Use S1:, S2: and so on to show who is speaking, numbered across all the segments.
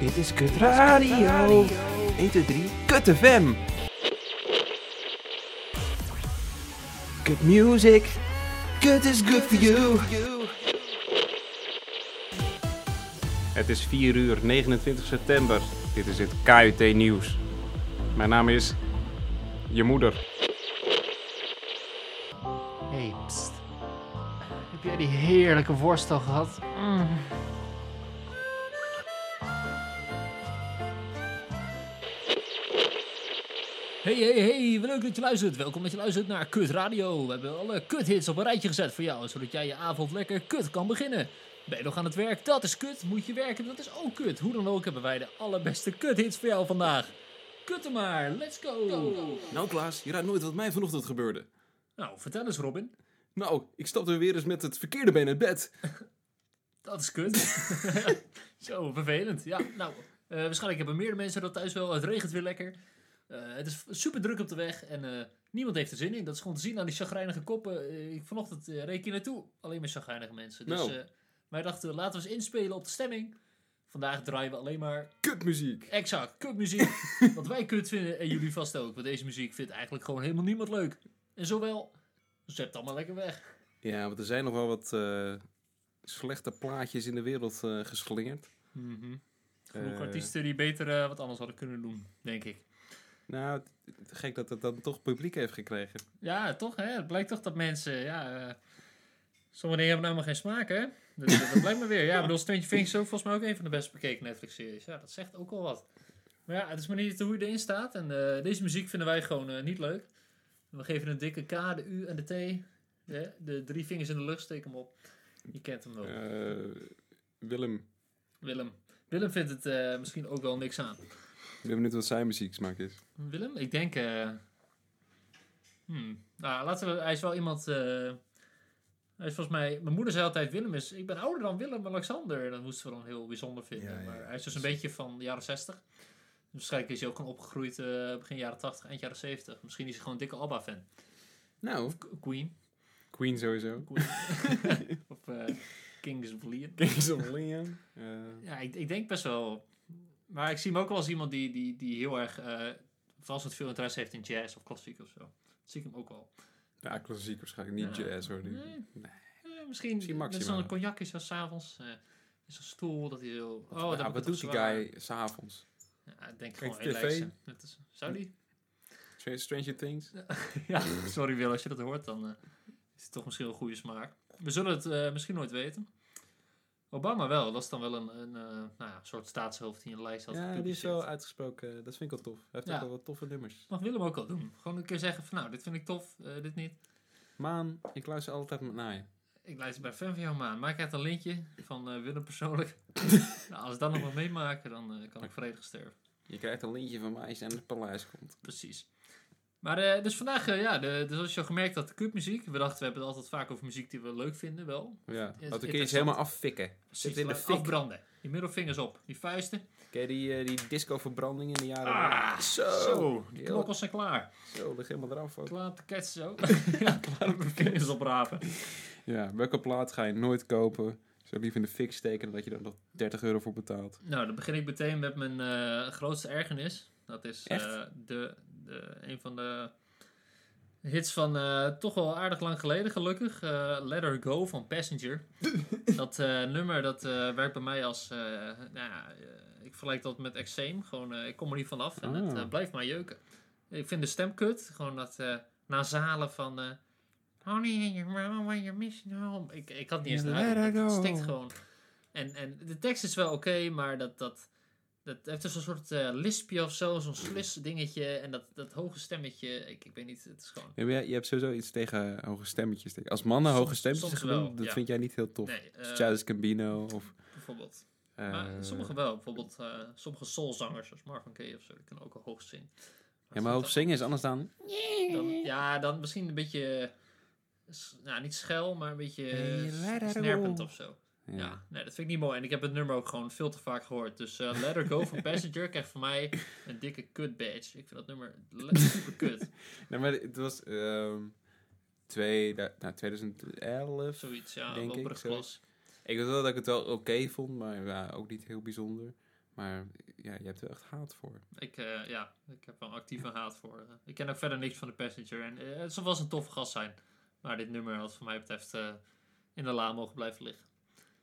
S1: Dit is Kut Radio. 1, 2, 3. Kut FM. Kut music. Kut is good for you.
S2: Het is 4 uur 29 september. Dit is het KUT Nieuws. Mijn naam is. Je moeder.
S3: Hey, pst. Heb jij die heerlijke worst al gehad? Mm.
S4: Hey, hey, hey, wat leuk dat je luistert. Welkom dat je luistert naar Kut Radio. We hebben alle kuthits op een rijtje gezet voor jou, zodat jij je avond lekker kut kan beginnen. Ben je nog aan het werk? Dat is kut. Moet je werken? Dat is ook kut. Hoe dan ook hebben wij de allerbeste kuthits voor jou vandaag. Kutten maar, let's go.
S5: Nou Klaas, je raadt nooit wat mij vanochtend gebeurde.
S4: Nou, vertel eens Robin.
S5: Nou, ik stapte weer eens met het verkeerde been uit bed.
S4: Dat is kut. Zo, vervelend. Ja, nou, eh, waarschijnlijk hebben meerdere mensen dat thuis wel. Het regent weer lekker. Eh, het is super druk op de weg en eh, niemand heeft er zin in. Dat is gewoon te zien aan die chagrijnige koppen. Eh, ik vanochtend eh, reed ik hier naartoe. Alleen maar chagrijnige mensen. Dus
S5: Nou.
S4: eh, wij dachten, laten we eens inspelen op de stemming. Vandaag draaien we alleen maar
S5: Kutmuziek.
S4: exact kutmuziek. wat wij kut vinden en jullie vast ook. Want deze muziek vindt eigenlijk gewoon helemaal niemand leuk. En zowel, zet het allemaal lekker weg.
S5: Ja, want er zijn nog wel wat eh, slechte plaatjes in de wereld eh, geslingerd.
S4: Genoeg
S5: Eh.
S4: artiesten die beter eh, wat anders hadden kunnen doen, denk ik.
S5: Nou, het- het- gek dat het dan toch publiek heeft gekregen.
S4: Ja, toch hè? Het blijkt toch dat mensen, ja... eh, sommige dingen hebben nou maar geen smaak hè? Dat, dat, dat blijkt maar weer. Ja, ik bedoel, Stranger Things is ook volgens mij ook een van de best bekeken Netflix-series. Ja, dat zegt ook al wat. Maar ja, het is maar niet hoe je erin staat. En eh, deze muziek vinden wij gewoon eh, niet leuk. We geven een dikke K, de U en de T. De, de drie vingers in de lucht, steek hem op. Je kent hem wel.
S5: Eh, Willem,
S4: Willem. Willem vindt het eh, misschien ook wel niks aan.
S5: ik ben benieuwd wat zijn muzieksmaak is.
S4: Willem? Ik denk. eh, hmm. Nou, laten we. Hij is wel iemand. eh, hij is volgens mij. Mijn moeder zei altijd: Willem is. Ik ben ouder dan Willem-Alexander. Dat moesten we dan heel bijzonder vinden.
S5: Ja, ja,
S4: Maar hij is dus een beetje van de jaren 60. Waarschijnlijk is hij ook gewoon opgegroeid eh, begin jaren 80, eind jaren 70. Misschien is hij gewoon een dikke Abba-fan.
S5: Nou,
S4: K- Queen.
S5: Queen sowieso.
S4: Queen. of eh, Kings of Leon.
S5: Kings of Leon. Eh,
S4: Ja, ik, ik denk best wel. Maar ik zie hem ook wel als iemand die, die, die heel erg. eh vast wat veel interesse heeft in jazz of klassiek of zo. Dat zie ik hem ook wel.
S5: ja, klassiek waarschijnlijk, niet
S4: Ja.
S5: jazz hoor. Die-
S4: Nee. Eh, misschien
S5: Misschien
S4: misschien
S5: maximaal.
S4: net zo'n cognacje zo s'avonds. eh in zo'n stoel, dat hij zo... Oh,
S5: Ja,
S4: dat moet
S5: wat
S4: toch
S5: doet die
S4: zwaar.
S5: guy s'avonds?
S4: Ja, ik denk
S5: Kijkt
S4: gewoon
S5: tv?
S4: relaxen. Dat is, zou die?
S5: Str- Stranger Things?
S4: ja, sorry Wil, als je dat hoort, dan eh, is het toch misschien wel goede smaak. We zullen het eh, misschien nooit weten. Obama wel, dat is dan wel een, een eh, nou ja, soort staatshoofd die een lijst had
S5: Ja, die is
S4: gepubliceerd.
S5: wel uitgesproken. Dat vind ik wel tof. Hij heeft
S4: Ja.
S5: ook wel wat toffe nummers.
S4: Mag Willem ook al doen. Gewoon een keer zeggen van nou, dit vind ik tof, eh, dit niet.
S5: Maan, ik luister altijd met naar je.
S4: Ik luister bij fan van jou maan. Maak uit een lintje van eh, Willem persoonlijk. nou, als we dat nog wel meemaken, dan eh, kan ik vredig sterven.
S5: Je krijgt een lintje van mij als je aan het paleis komt.
S4: Precies. Maar eh, dus vandaag, eh, ja, de, dus als je al gemerkt had, kutmuziek. We dachten, we hebben het altijd vaak over muziek die we leuk vinden, wel. is
S5: Ja, dat kun je
S4: interessant.
S5: ze helemaal affikken.
S4: Precies,
S5: Zit in de
S4: laat
S5: fik.
S4: Afbranden. Je middelvingers op, die vuisten.
S5: Ken je die, eh, die disco-verbranding in de jaren...
S4: Ah,
S5: zo!
S4: die
S5: Heel-
S4: knokkels zijn klaar.
S5: Zo, lig helemaal eraf ook.
S4: Klaar te ketsen zo. ja, klaar om de vingers oprapen.
S5: Ja, welke plaat ga je nooit kopen? Zo lief in de fik steken dan dat je er nog 30 euro voor betaalt.
S4: Nou, dan begin ik meteen met mijn eh, grootste ergernis. Dat is eh,
S5: Echt?
S4: de, de, een van de hits van eh, toch wel aardig lang geleden, gelukkig. eh Let Her Go van Passenger. dat eh, nummer dat eh, werkt bij mij als. eh, nou ja, eh, ik vergelijk dat met eczeem. Gewoon, eh, ik kom er niet vanaf en het
S5: Ah.
S4: eh, blijft maar jeuken. Ik vind de stem kut. Gewoon dat eh nazalen van. eh Honey, and your mama, when you're missing home. Ik, ik had niet eens
S5: Let
S4: naar.
S5: her
S4: Het
S5: go.
S4: stinkt gewoon. En, en de tekst is wel oké, maar dat, dat, dat heeft dus een soort eh, lispje of zo, zo'n slis dingetje. En dat, dat hoge stemmetje, ik, ik weet niet, het is gewoon...
S5: Ja, maar jij- je hebt sowieso iets tegen hoge stemmetjes. Tegen. Als mannen hoge stemmetjes
S4: soms
S5: gaan doen,
S4: wel,
S5: dat
S4: ja.
S5: vind jij niet heel tof.
S4: Nee, eh,
S5: Dus Childish Gambino of...
S4: bijvoorbeeld.
S5: eh,
S4: maar sommige wel, bijvoorbeeld eh, sommige soulzangers, zoals Marvin Gaye of zo, die kunnen ook al hoog zingen.
S5: Ja, maar hoog zingen is anders dan...
S4: Dan, ja, dan misschien een beetje, eh, s- nou niet schel, maar een beetje
S5: Hey,
S4: eh,
S5: let her
S4: snerpend
S5: go.
S4: of zo. Ja, nee, dat vind ik niet mooi. En ik heb het nummer ook gewoon veel te vaak gehoord. Dus eh Let Her Go van Passenger krijgt van mij een dikke kut badge. Ik vind dat nummer le- super kut.
S5: Nee, maar het was... ehm twee, nou, 2011
S4: Zoiets, ja.
S5: Denk ik,
S4: Loperige
S5: sorry.
S4: klas.
S5: Ik weet wel dat ik het wel oké vond, maar ja, ook niet heel bijzonder. Maar ja, je hebt er echt haat voor.
S4: Ik, eh, ja, ik heb wel actief een haat voor. eh. ik ken ook verder niks van de Passenger. En eh, het zal wel eens een toffe gast zijn. Maar dit nummer had voor mij betreft eh, in de la mogen blijven liggen.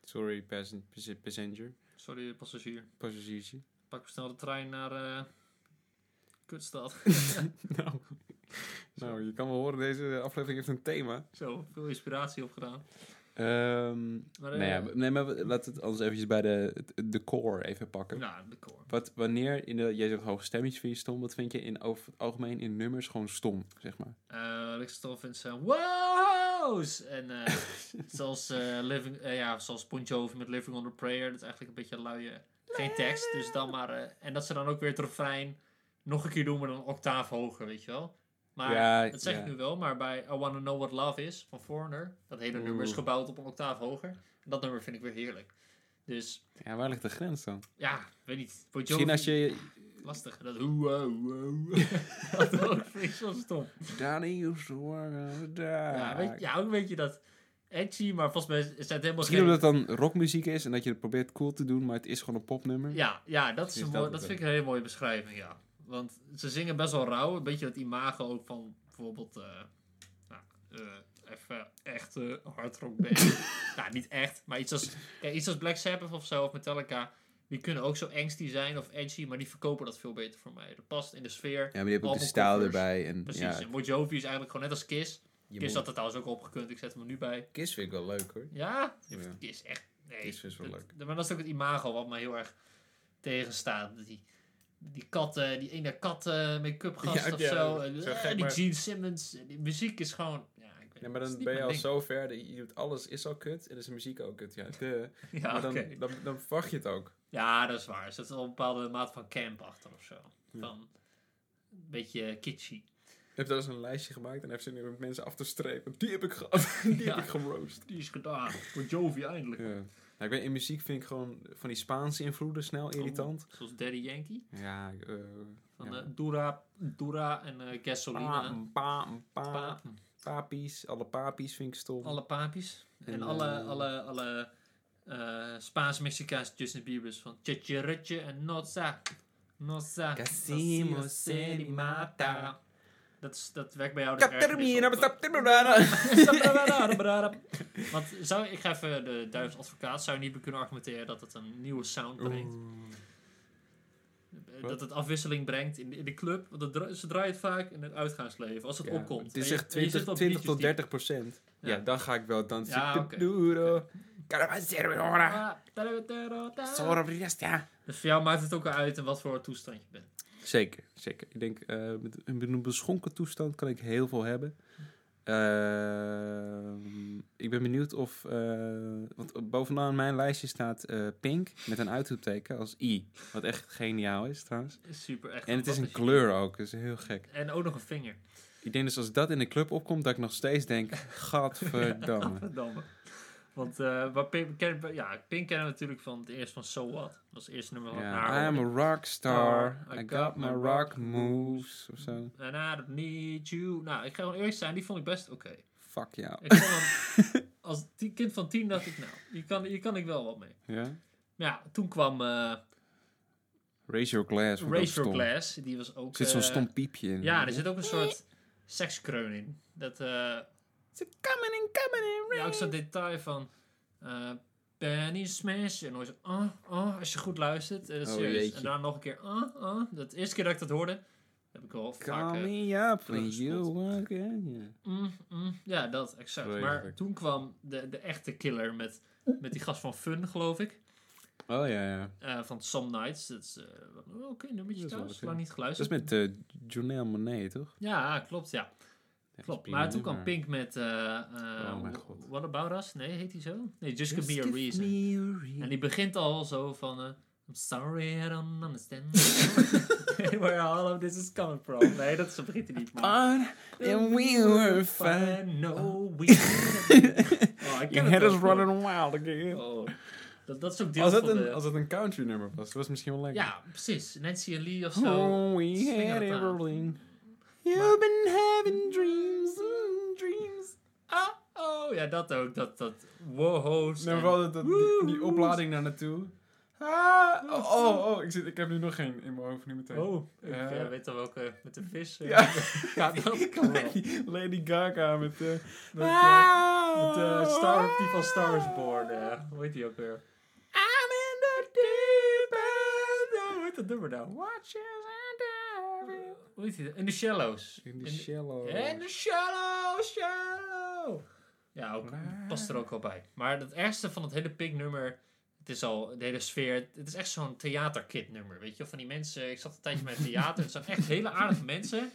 S5: Sorry, passen- pas- passenger.
S4: Sorry, passagier.
S5: Passagiertje.
S4: Pak snel de trein naar eh, Kutstad.
S5: nou. nou, je kan wel horen, deze aflevering heeft een thema.
S4: Zo, veel inspiratie opgedaan.
S5: Ehm
S4: Maar, eh,
S5: nou ja, nee, maar we- laten we het anders eventjes bij de, de core even pakken.
S4: Nou, de core.
S5: Wat, wanneer, in de, jij zegt hoge stemmetjes vind je stom, wat vind je in over het algemeen in nummers gewoon stom, zeg maar?
S4: Eh, Wat ik stom vind zijn wow's! En eh, zoals, eh, living, eh, ja, zoals Bon Jovi met Living on a Prayer. Dat is eigenlijk een beetje een luie... Geen tekst, dus dan maar... eh, en dat ze dan ook weer het refrein nog een keer doen, maar dan een octaaf hoger, weet je wel? Maar,
S5: Ja,
S4: dat zeg
S5: ja.
S4: ik nu wel, maar bij I Wanna Know What Love Is van Foreigner... Dat hele nummer is
S5: Oeh.
S4: gebouwd op een octaaf hoger. En dat nummer vind ik weer heerlijk. Dus,
S5: Ja, waar ligt de grens dan?
S4: ja, weet niet. Bon Jovi,
S5: Misschien als je...
S4: lastig. Dat hoe, hoe, hoe. Dat ook vind ik zo stom.
S5: Danny used to work as a dog.
S4: Ja, Eh, weet, ja, ook een beetje dat edgy, maar volgens mij is het helemaal
S5: Misschien
S4: geen...
S5: omdat het dan rockmuziek is en dat je het probeert cool te doen, maar het is gewoon een popnummer.
S4: Ja, ja dat, is
S5: Misschien
S4: een
S5: is
S4: mooi-
S5: dat
S4: dat
S5: het
S4: vind ik een hele mooie beschrijving, ja. Want ze zingen best wel rauw, een beetje dat imago ook van bijvoorbeeld... eh, nou, eh, even echt eh, hard rock band. nou, niet echt, maar iets als, ja, iets als Black Sabbath of zo, of Metallica... Die kunnen ook zo angsty zijn of edgy, maar die verkopen dat veel beter voor mij. Dat past in de sfeer.
S5: Ja, maar je hebt ook de
S4: Albumcovers.
S5: stijl erbij. En,
S4: Precies.
S5: Ja,
S4: En Bon Jovi is eigenlijk gewoon net als Kiss.
S5: je
S4: Kiss
S5: moet-
S4: had er trouwens ook opgekund, ik zet hem er nu bij.
S5: Kiss vind ik wel leuk hoor.
S4: Ja?
S5: Ja.
S4: Die is echt... Nee,
S5: Kiss is wel
S4: dat-
S5: leuk.
S4: Maar dat is ook het imago wat me heel erg tegenstaat. Dat Die, die kat, eh, die ene kat eh, make-up gast
S5: Ja,
S4: of
S5: ja,
S4: zo.
S5: zo
S4: En,
S5: gek,
S4: eh, die
S5: maar-
S4: Gene Simmons. eh, Die muziek is gewoon... Ja, ik weet,
S5: Ja, maar
S4: het is
S5: dan
S4: niet
S5: ben je
S4: mijn
S5: al
S4: ding.
S5: zo ver, dat je doet alles is al kut en is de muziek ook kut. Ja, de,
S4: Ja,
S5: maar dan,
S4: oké.
S5: dan, dan verwacht je het ook.
S4: ja, dat is waar. Er zit wel een bepaalde maat van camp achter of zo. Van... Een beetje kitschy.
S5: Je hebt wel eens een lijstje gemaakt en heeft ze nu met mensen af te strepen. Die heb ik gehad, die
S4: Ja.
S5: heb ik geroost.
S4: Die is gedaan. Voor Jovi eindelijk.
S5: Ja. Nou, ik weet, in muziek vind ik gewoon van die Spaanse invloeden snel irritant.
S4: Oh, zoals Daddy Yankee.
S5: Ja, eh
S4: Van
S5: Ja. Ah,
S4: eh, Dura, Dura en eh, Gasolina.
S5: pa, een pa, een pa,
S4: Pa-
S5: papies, alle papies vind ik stom.
S4: Alle papies. En,
S5: En,
S4: alle,
S5: eh,
S4: alle, alle eh Spaans-Mexicaanse Justin Bieber's van Chicharetje en Noza. Noza.
S5: Casimo
S4: Noza
S5: se ni mata. nou,
S4: Dat, is, dat werkt bij jou.
S5: Katermina,
S4: ergernis op,
S5: bestaat-
S4: eh. Want zou, ik ga even de duivels advocaat. Zou je niet kunnen argumenteren dat het een nieuwe sound brengt? Eh, Dat
S5: Oh, Wat?
S4: het afwisseling brengt in de, in de club. Want het dra- ze draaien het vaak in het uitgaansleven. Als het
S5: Ja,
S4: opkomt.
S5: Het is
S4: En je-
S5: echt
S4: en je
S5: 20,
S4: zit op
S5: 20 tot
S4: liedjes die-
S5: 30 procent. Ja.
S4: Ja.
S5: dan ga ik wel dansen.
S4: Ja,
S5: Ja,
S4: oké.
S5: Duro. Caravazero, hola.
S4: Ah, tarotero, ta-
S5: Zorro, Brigasta.
S4: Dus voor jou maakt het ook uit in wat voor toestand je bent.
S5: Zeker, zeker. Ik denk, eh, met een met een beschonken toestand kan ik heel veel hebben. Ehm, ik ben benieuwd of... eh, want bovenaan mijn lijstje staat eh, Pink met een uitroepteken als I. Wat echt geniaal is trouwens.
S4: Is Super echt.
S5: En het is een
S4: fantastisch.
S5: kleur ook, dus heel gek.
S4: En ook nog een vinger.
S5: Ik denk dus als dat in de club opkomt, dat ik nog steeds denk... Gadverdamme.
S4: Verdamme. Want eh waar Pink, ken, ja, Pink kennen we natuurlijk van het eerst van So What. Dat was het eerste nummer van
S5: Ja, I'm a
S4: Oh,
S5: rockstar. I got my rock moves. Of zo.
S4: And I don't need you. Nou, ik ga gewoon eerlijk zijn, die vond ik best oké.
S5: Fuck jou.
S4: Ik vond hem- Als die kind van tien dacht ik, nou, hier kan, hier kan ik wel wat mee.
S5: Ja?
S4: Maar ja, toen kwam eh
S5: Raise your glass. vond ik ook
S4: Raise Your
S5: stom.
S4: Glass. Die was ook...
S5: Er zit zo'n
S4: eh,
S5: stom piepje in.
S4: Ja, er zit ook een soort sekskreun in. Dat, eh,
S5: Ze coming in, coming in,
S4: Ja, ook zo'n detail van... eh Benny Smash. En dan zo... Oh, oh, als je goed luistert. eh,
S5: Oh,
S4: serieus.
S5: jeetje.
S4: en daarna nog een keer... Oh, oh. Dat de eerste keer dat ik dat hoorde... Heb ik wel vaak...
S5: Call
S4: eh,
S5: me up when you
S4: teruggespot.
S5: walk in.
S4: mm, mm. ja, dat, exact.
S5: Sorry,
S4: maar
S5: eigenlijk.
S4: toen kwam de, de echte killer met, met die gast van Fun, geloof ik.
S5: Ja. Oh ja, ja.
S4: eh, van Some Nights. Dat is... eh, oh, Oké, nummertje
S5: Dat is wel
S4: trouwens.
S5: oké.
S4: Lang niet
S5: Dat is
S4: geluisterd.
S5: met eh Jonelle Monet, toch?
S4: Ja, klopt, ja.
S5: Ja,
S4: Klopt,
S5: prima,
S4: maar toen
S5: maar-
S4: kwam Pink met... eh eh,
S5: Oh mijn god.
S4: What About Us? Nee, heet hij zo? Nee, Just,
S5: Just
S4: Give Me A
S5: give
S4: Reason.
S5: me a reason.
S4: En die begint al zo van... eh, I'm sorry, I don't understand where all of this is coming from. Nee, dat zo begint hij niet. Maar...
S5: On and Ah, we were fine.
S4: no,
S5: Oh.
S4: we didn't. Oh, ik ken
S5: You
S4: het
S5: had
S4: wel
S5: us
S4: goed.
S5: running wild again.
S4: Oh, eh. dat, dat is ook deel
S5: Als dat,
S4: van
S5: een,
S4: de...
S5: als dat een country nummer was, dat was misschien wel lekker.
S4: Ja, precies. Nancy en Lee of zo.
S5: Oh, we
S4: slingeren
S5: had
S4: het aan.
S5: everything. You've been having dreams, mm, dreams.
S4: Ah, oh, ja, dat ook. Dat, dat woho's.
S5: Nee,
S4: en-
S5: maar wel dat, dat- die, die oplading daar naartoe. Ah, oh, oh, oh, ik, zit, ik heb nu nog geen in mijn hoofd nu meteen.
S4: Oh, ik
S5: Eh.
S4: eh, weet al welke met de vis. eh,
S5: Ja.
S4: gaat dat?
S5: Lady, Lady Gaga met de...
S4: Met, eh, met eh, Star, die van Star Wars Born. eh, hoe heet die ook weer?
S5: I'm in the deep end.
S4: Hoe heet dat nummer nou?
S5: Watches and
S4: Hoe heet die? In the Shallows.
S5: In the shallow.
S4: In the Shallows, Shallow. Ja, ook, past er ook al bij. Maar het ergste van het hele Pink nummer... Het is al, de hele sfeer... Het is echt zo'n theaterkid nummer, weet je? Van die mensen... Ik zat een tijdje bij het theater. Het zijn echt hele aardige mensen.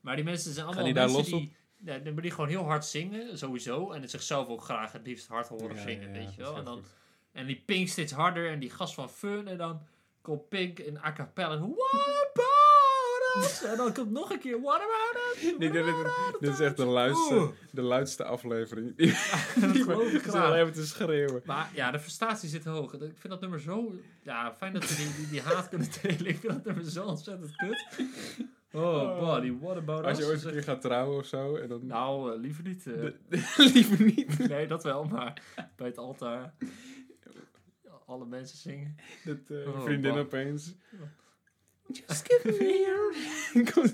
S4: Maar die mensen zijn allemaal
S5: die daar
S4: mensen
S5: los
S4: die... Ja, die- die gewoon heel hard zingen, sowieso. En het zichzelf ook graag het liefst hard horen
S5: Ja,
S4: zingen,
S5: ja,
S4: weet
S5: dat
S4: je
S5: is
S4: wel.
S5: heel
S4: En dan
S5: goed.
S4: en die Pink steeds harder en die gast van Fun. En dan komt Pink in a cappella. en What about us? En dan komt nog een keer What about us?
S5: Ik denk dat dit, dit is echt de luidste, de luidste aflevering. Die
S4: dat geloof ik
S5: is al
S4: Oh, graag.
S5: even te schreeuwen.
S4: Maar ja, de frustratie zit hoog. Ik vind dat nummer zo... Ja, fijn dat we die, die, die haat kunnen delen. Ik vind dat nummer zo ontzettend kut. Oh, buddy, what about
S5: Als je
S4: us?
S5: ooit
S4: Is
S5: een
S4: echt-
S5: keer gaat trouwen of zo. En dan...
S4: Nou, eh, liever niet. eh.
S5: Liever niet.
S4: Nee, dat wel, maar bij het altaar. Alle mensen zingen.
S5: Dat eh,
S4: Oh,
S5: vriendin
S4: man.
S5: opeens.
S4: Just give me
S5: Komt-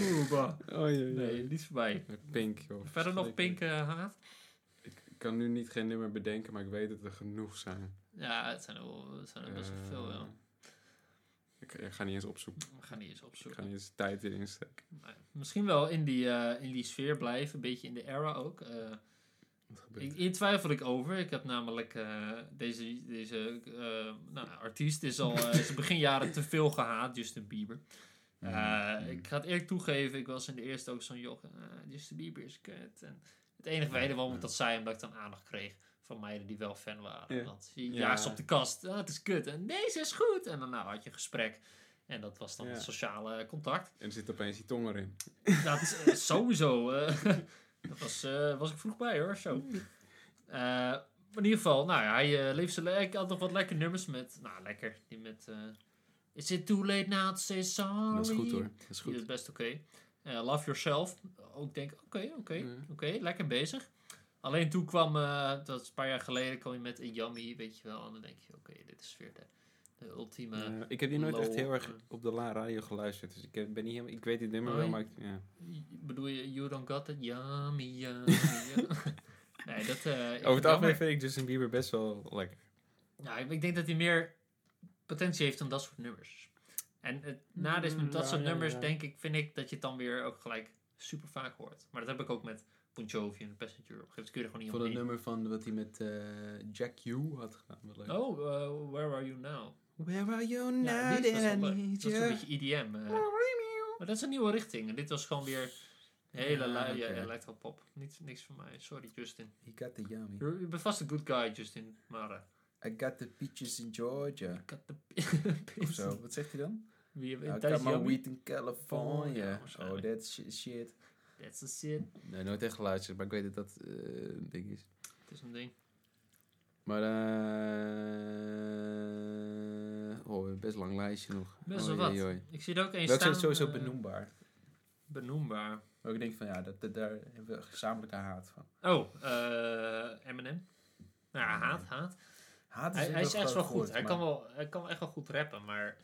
S4: Oeh, bah.
S5: oh jee.
S4: Nee, niet voorbij.
S5: Pink, joh.
S4: Verder nog
S5: Verschrikkelijk.
S4: Pink eh, haat.
S5: Ik kan nu niet geen nummer bedenken, maar ik weet dat er genoeg zijn.
S4: Ja, het zijn er, wel, het zijn er best wel
S5: Eh,
S4: veel. Ja.
S5: Ik, ik ga niet eens opzoeken.
S4: We gaan die eens
S5: Ik ga
S4: opzoeken.
S5: niet eens tijd in steken.
S4: Nee. Misschien wel in die, eh, in die sfeer blijven, een beetje in de era ook. Eh,
S5: Wat gebeurt
S4: ik, hier twijfel ik over. Ik heb namelijk eh, deze, deze eh, nou, artiest is al eh, is begin jaren te veel gehaat, Justin Bieber. Eh,
S5: Mm.
S4: Ik ga het eerlijk toegeven, ik was in de eerste ook zo'n joch. eh, Justin Bieber is kut. En het enige reden waarom ik dat zei, omdat ik dan aandacht kreeg van meiden die wel fan waren.
S5: Ja.
S4: Want je
S5: Ja.
S4: jaagt ze op de kast, ah, het is kut. En deze is goed. En dan nou, had je een gesprek. En dat was dan
S5: Ja.
S4: het sociale contact.
S5: En er zit opeens die tong erin.
S4: Dat is eh, sowieso. eh, dat was, eh, was ik vroeg bij hoor, zo. Eh, maar in ieder geval, nou ja, hij eh, leeft zijn le- Ik had nog wat lekker nummers met. Nou, lekker. Die met. eh, Is it too late now to say sorry?
S5: Dat is goed hoor. Dat is
S4: Die is
S5: goed.
S4: best oké. Eh, Love Yourself. Ook denk ik, oké, oké,
S5: Ja.
S4: oké. lekker bezig. Alleen toen kwam, eh, dat is een paar jaar geleden, kwam je met een Yummy, weet je wel. En dan denk je, oké, dit is weer de, de ultieme...
S5: Eh, ik heb die nooit echt
S4: low-
S5: heel erg op de la radio geluisterd. Dus ik, heb- ben niet helemaal, ik weet dit nummer
S4: Oh,
S5: wel,
S4: ja.
S5: maar ik, ja.
S4: Y- Bedoel je, you don't got it? Yummy, yummy, yummy. nee, dat... eh, ik
S5: Over het
S4: vind
S5: algemeen
S4: jammer.
S5: vind ik Justin Bieber best wel lekker.
S4: Ja, ik, ik denk dat hij meer potentie heeft dan dat soort nummers. En het nadeel is met dat
S5: Mm, Ja,
S4: soort
S5: ja,
S4: nummers,
S5: ja.
S4: denk ik, vind ik dat je het dan weer ook gelijk super vaak hoort. Maar dat heb ik ook met Bon Jovi en Passenger. Op een gegeven moment kun je er gewoon niet
S5: Voor dat
S4: omheen.
S5: nummer van wat hij met eh, Jack U had gedaan. Wat leuk.
S4: Oh, eh, Where Are You Now?
S5: Where are you now
S4: Ja, die is best
S5: that I
S4: wel leuk.
S5: need
S4: Dat is een
S5: you?
S4: beetje EDM. eh. Maar dat is een nieuwe richting. En dit was gewoon weer een hele
S5: Ja,
S4: lui- ja,
S5: oké.
S4: electropop. Niet, niks van mij. Sorry, Justin.
S5: He got the yummy.
S4: Je je bent vast een good guy, Justin. Maar... eh,
S5: I got the peaches in Georgia.
S4: ik had de
S5: Of zo. Wat zegt hij dan?
S4: Wie
S5: I
S4: weet
S5: got
S4: dat
S5: my
S4: je...
S5: weed in California.
S4: Ja,
S5: Oh,
S4: waarschijnlijk.
S5: that shi- shit.
S4: That's the shit.
S5: Nee, nooit echt geluisterd, maar ik weet dat dat eh, een ding is.
S4: Het is een ding.
S5: Maar eh... Oh, we hebben best een lang lijstje nog.
S4: Best
S5: Oh,
S4: wel wat.
S5: jee, jee.
S4: Ik zie er ook één
S5: Welke
S4: staan.
S5: zijn sowieso
S4: eh,
S5: benoembaar?
S4: Benoembaar.
S5: Waar ik denk van ja, dat, dat- daar hebben we gezamenlijke haat van.
S4: Oh, eh Eminem. Nou, ja, haat, haat.
S5: Haat
S4: Hij, hij
S5: ook
S4: is echt wel
S5: groot
S4: goed.
S5: woord,
S4: hij,
S5: maar-
S4: kan wel, hij kan wel echt wel goed rappen, maar...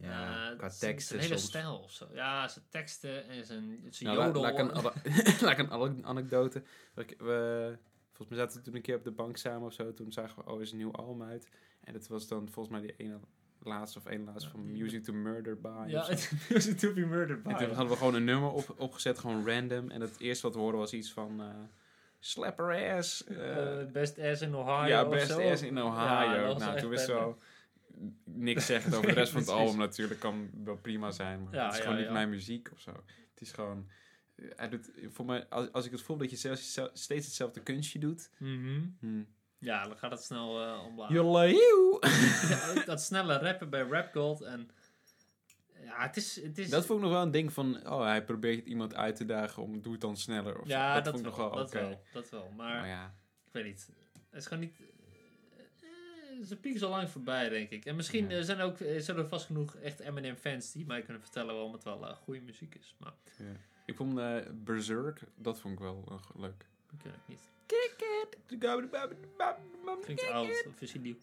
S5: Ja,
S4: eh,
S5: qua
S4: zijn-
S5: teksten
S4: Zijn hele
S5: soms.
S4: stijl of zo. Ja, zijn teksten en zijn, zijn
S5: Nou, la-
S4: jodel.
S5: laat ik een ane- laat ik een ane- anekdote. Ik- we, volgens mij zaten we toen een keer op de bank samen of zo. Toen zagen we, oh, er is een nieuw album uit. En dat was dan volgens mij die ene laatste of één laatste
S4: Ja,
S5: van
S4: die-
S5: Music to Murder By. of
S4: ja,
S5: zo.
S4: het is een To Be Murdered
S5: En toen
S4: by.
S5: hadden we gewoon een nummer op, opgezet, gewoon random. En het eerste wat we hoorden was iets van... eh Slap her ass. eh,
S4: Eh, best ass in Ohio
S5: ja,
S4: of
S5: best
S4: zo.
S5: ass in
S4: Ja, dat
S5: Ohio.
S4: was
S5: nou,
S4: echt
S5: toen wist
S4: vet, hè.
S5: wel niks zeggen over de rest van het
S4: Precies.
S5: album natuurlijk. Kan wel prima zijn, maar
S4: Ja,
S5: het is
S4: ja,
S5: gewoon niet
S4: ja.
S5: mijn muziek of zo. Het is gewoon... eh, Hij doet, voor mij, als, als ik het voel dat je zelfs, zel- steeds hetzelfde kunstje doet.
S4: Mhm.
S5: Hmm.
S4: Ja, dan gaat het snel eh omlaag.
S5: Joleeuw.
S4: Ja, ook dat snelle rappen bij Rap God en ja, het is, het is
S5: Dat vond ik nog wel een ding van... Oh, hij probeert iemand uit te dagen om... Doe het dan sneller. Of
S4: ja,
S5: zo.
S4: dat,
S5: vond ik nog
S4: wel,
S5: wel
S4: dat
S5: oké.
S4: wel, dat wel, maar
S5: Maar ja.
S4: ik weet niet, het is gewoon niet, eh, eh, zijn piek is al lang voorbij denk ik. En misschien
S5: Ja.
S4: eh, zijn, er ook, eh, zijn er vast genoeg echt Eminem fans die mij kunnen vertellen waarom het wel eh, goede muziek is, maar
S5: Ik vond eh, Berserk, dat vond ik wel eh, leuk.
S4: dat ken ik niet. Klinkt oud, of is hij nieuw?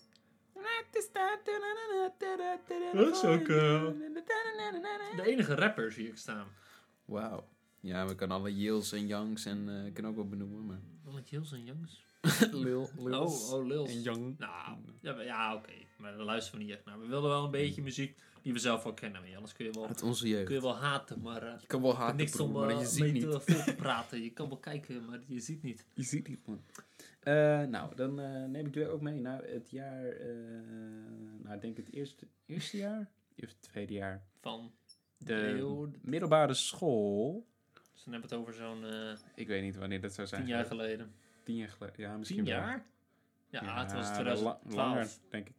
S5: Dat
S4: is ook, eh, De enige rapper zie ik staan.
S5: Wauw. Ja, we kunnen alle Yils en Youngs en eh, ik kan ook wel benoemen, maar...
S4: Wallet Hills en Youngs.
S5: Lil, Lils
S4: Oh, oh, Lils.
S5: en Young.
S4: Nou, ja, maar- ja oké. Maar daar luisteren we niet echt naar. We wilden wel een beetje muziek die we zelf wel kennen. maar Anders kun je wel,
S5: Uit onze jeugd.
S4: kun je wel haten, maar... eh,
S5: Je kan wel haten,
S4: niks
S5: broer,
S4: om
S5: maar
S4: eh,
S5: je
S4: mee
S5: ziet
S4: te-
S5: niet.
S4: vol te praten. Je kan wel kijken, maar je ziet niet.
S5: Je ziet niet, man. nou, dan eh, neem ik jullie ook mee naar het jaar... eh, nou, ik denk het eerste, eerste jaar? Of het tweede jaar.
S4: Van,
S5: De
S4: Eeuw.
S5: middelbare school.
S4: ze hebben het over zo'n eh
S5: Ik weet niet wanneer dat zou zijn.
S4: tien jaar geleden.
S5: Tien jaar geleden. Ja, misschien
S4: Tien
S5: wel.
S4: jaar? Ja, het was
S5: la-
S4: 2012.
S5: langer, denk ik.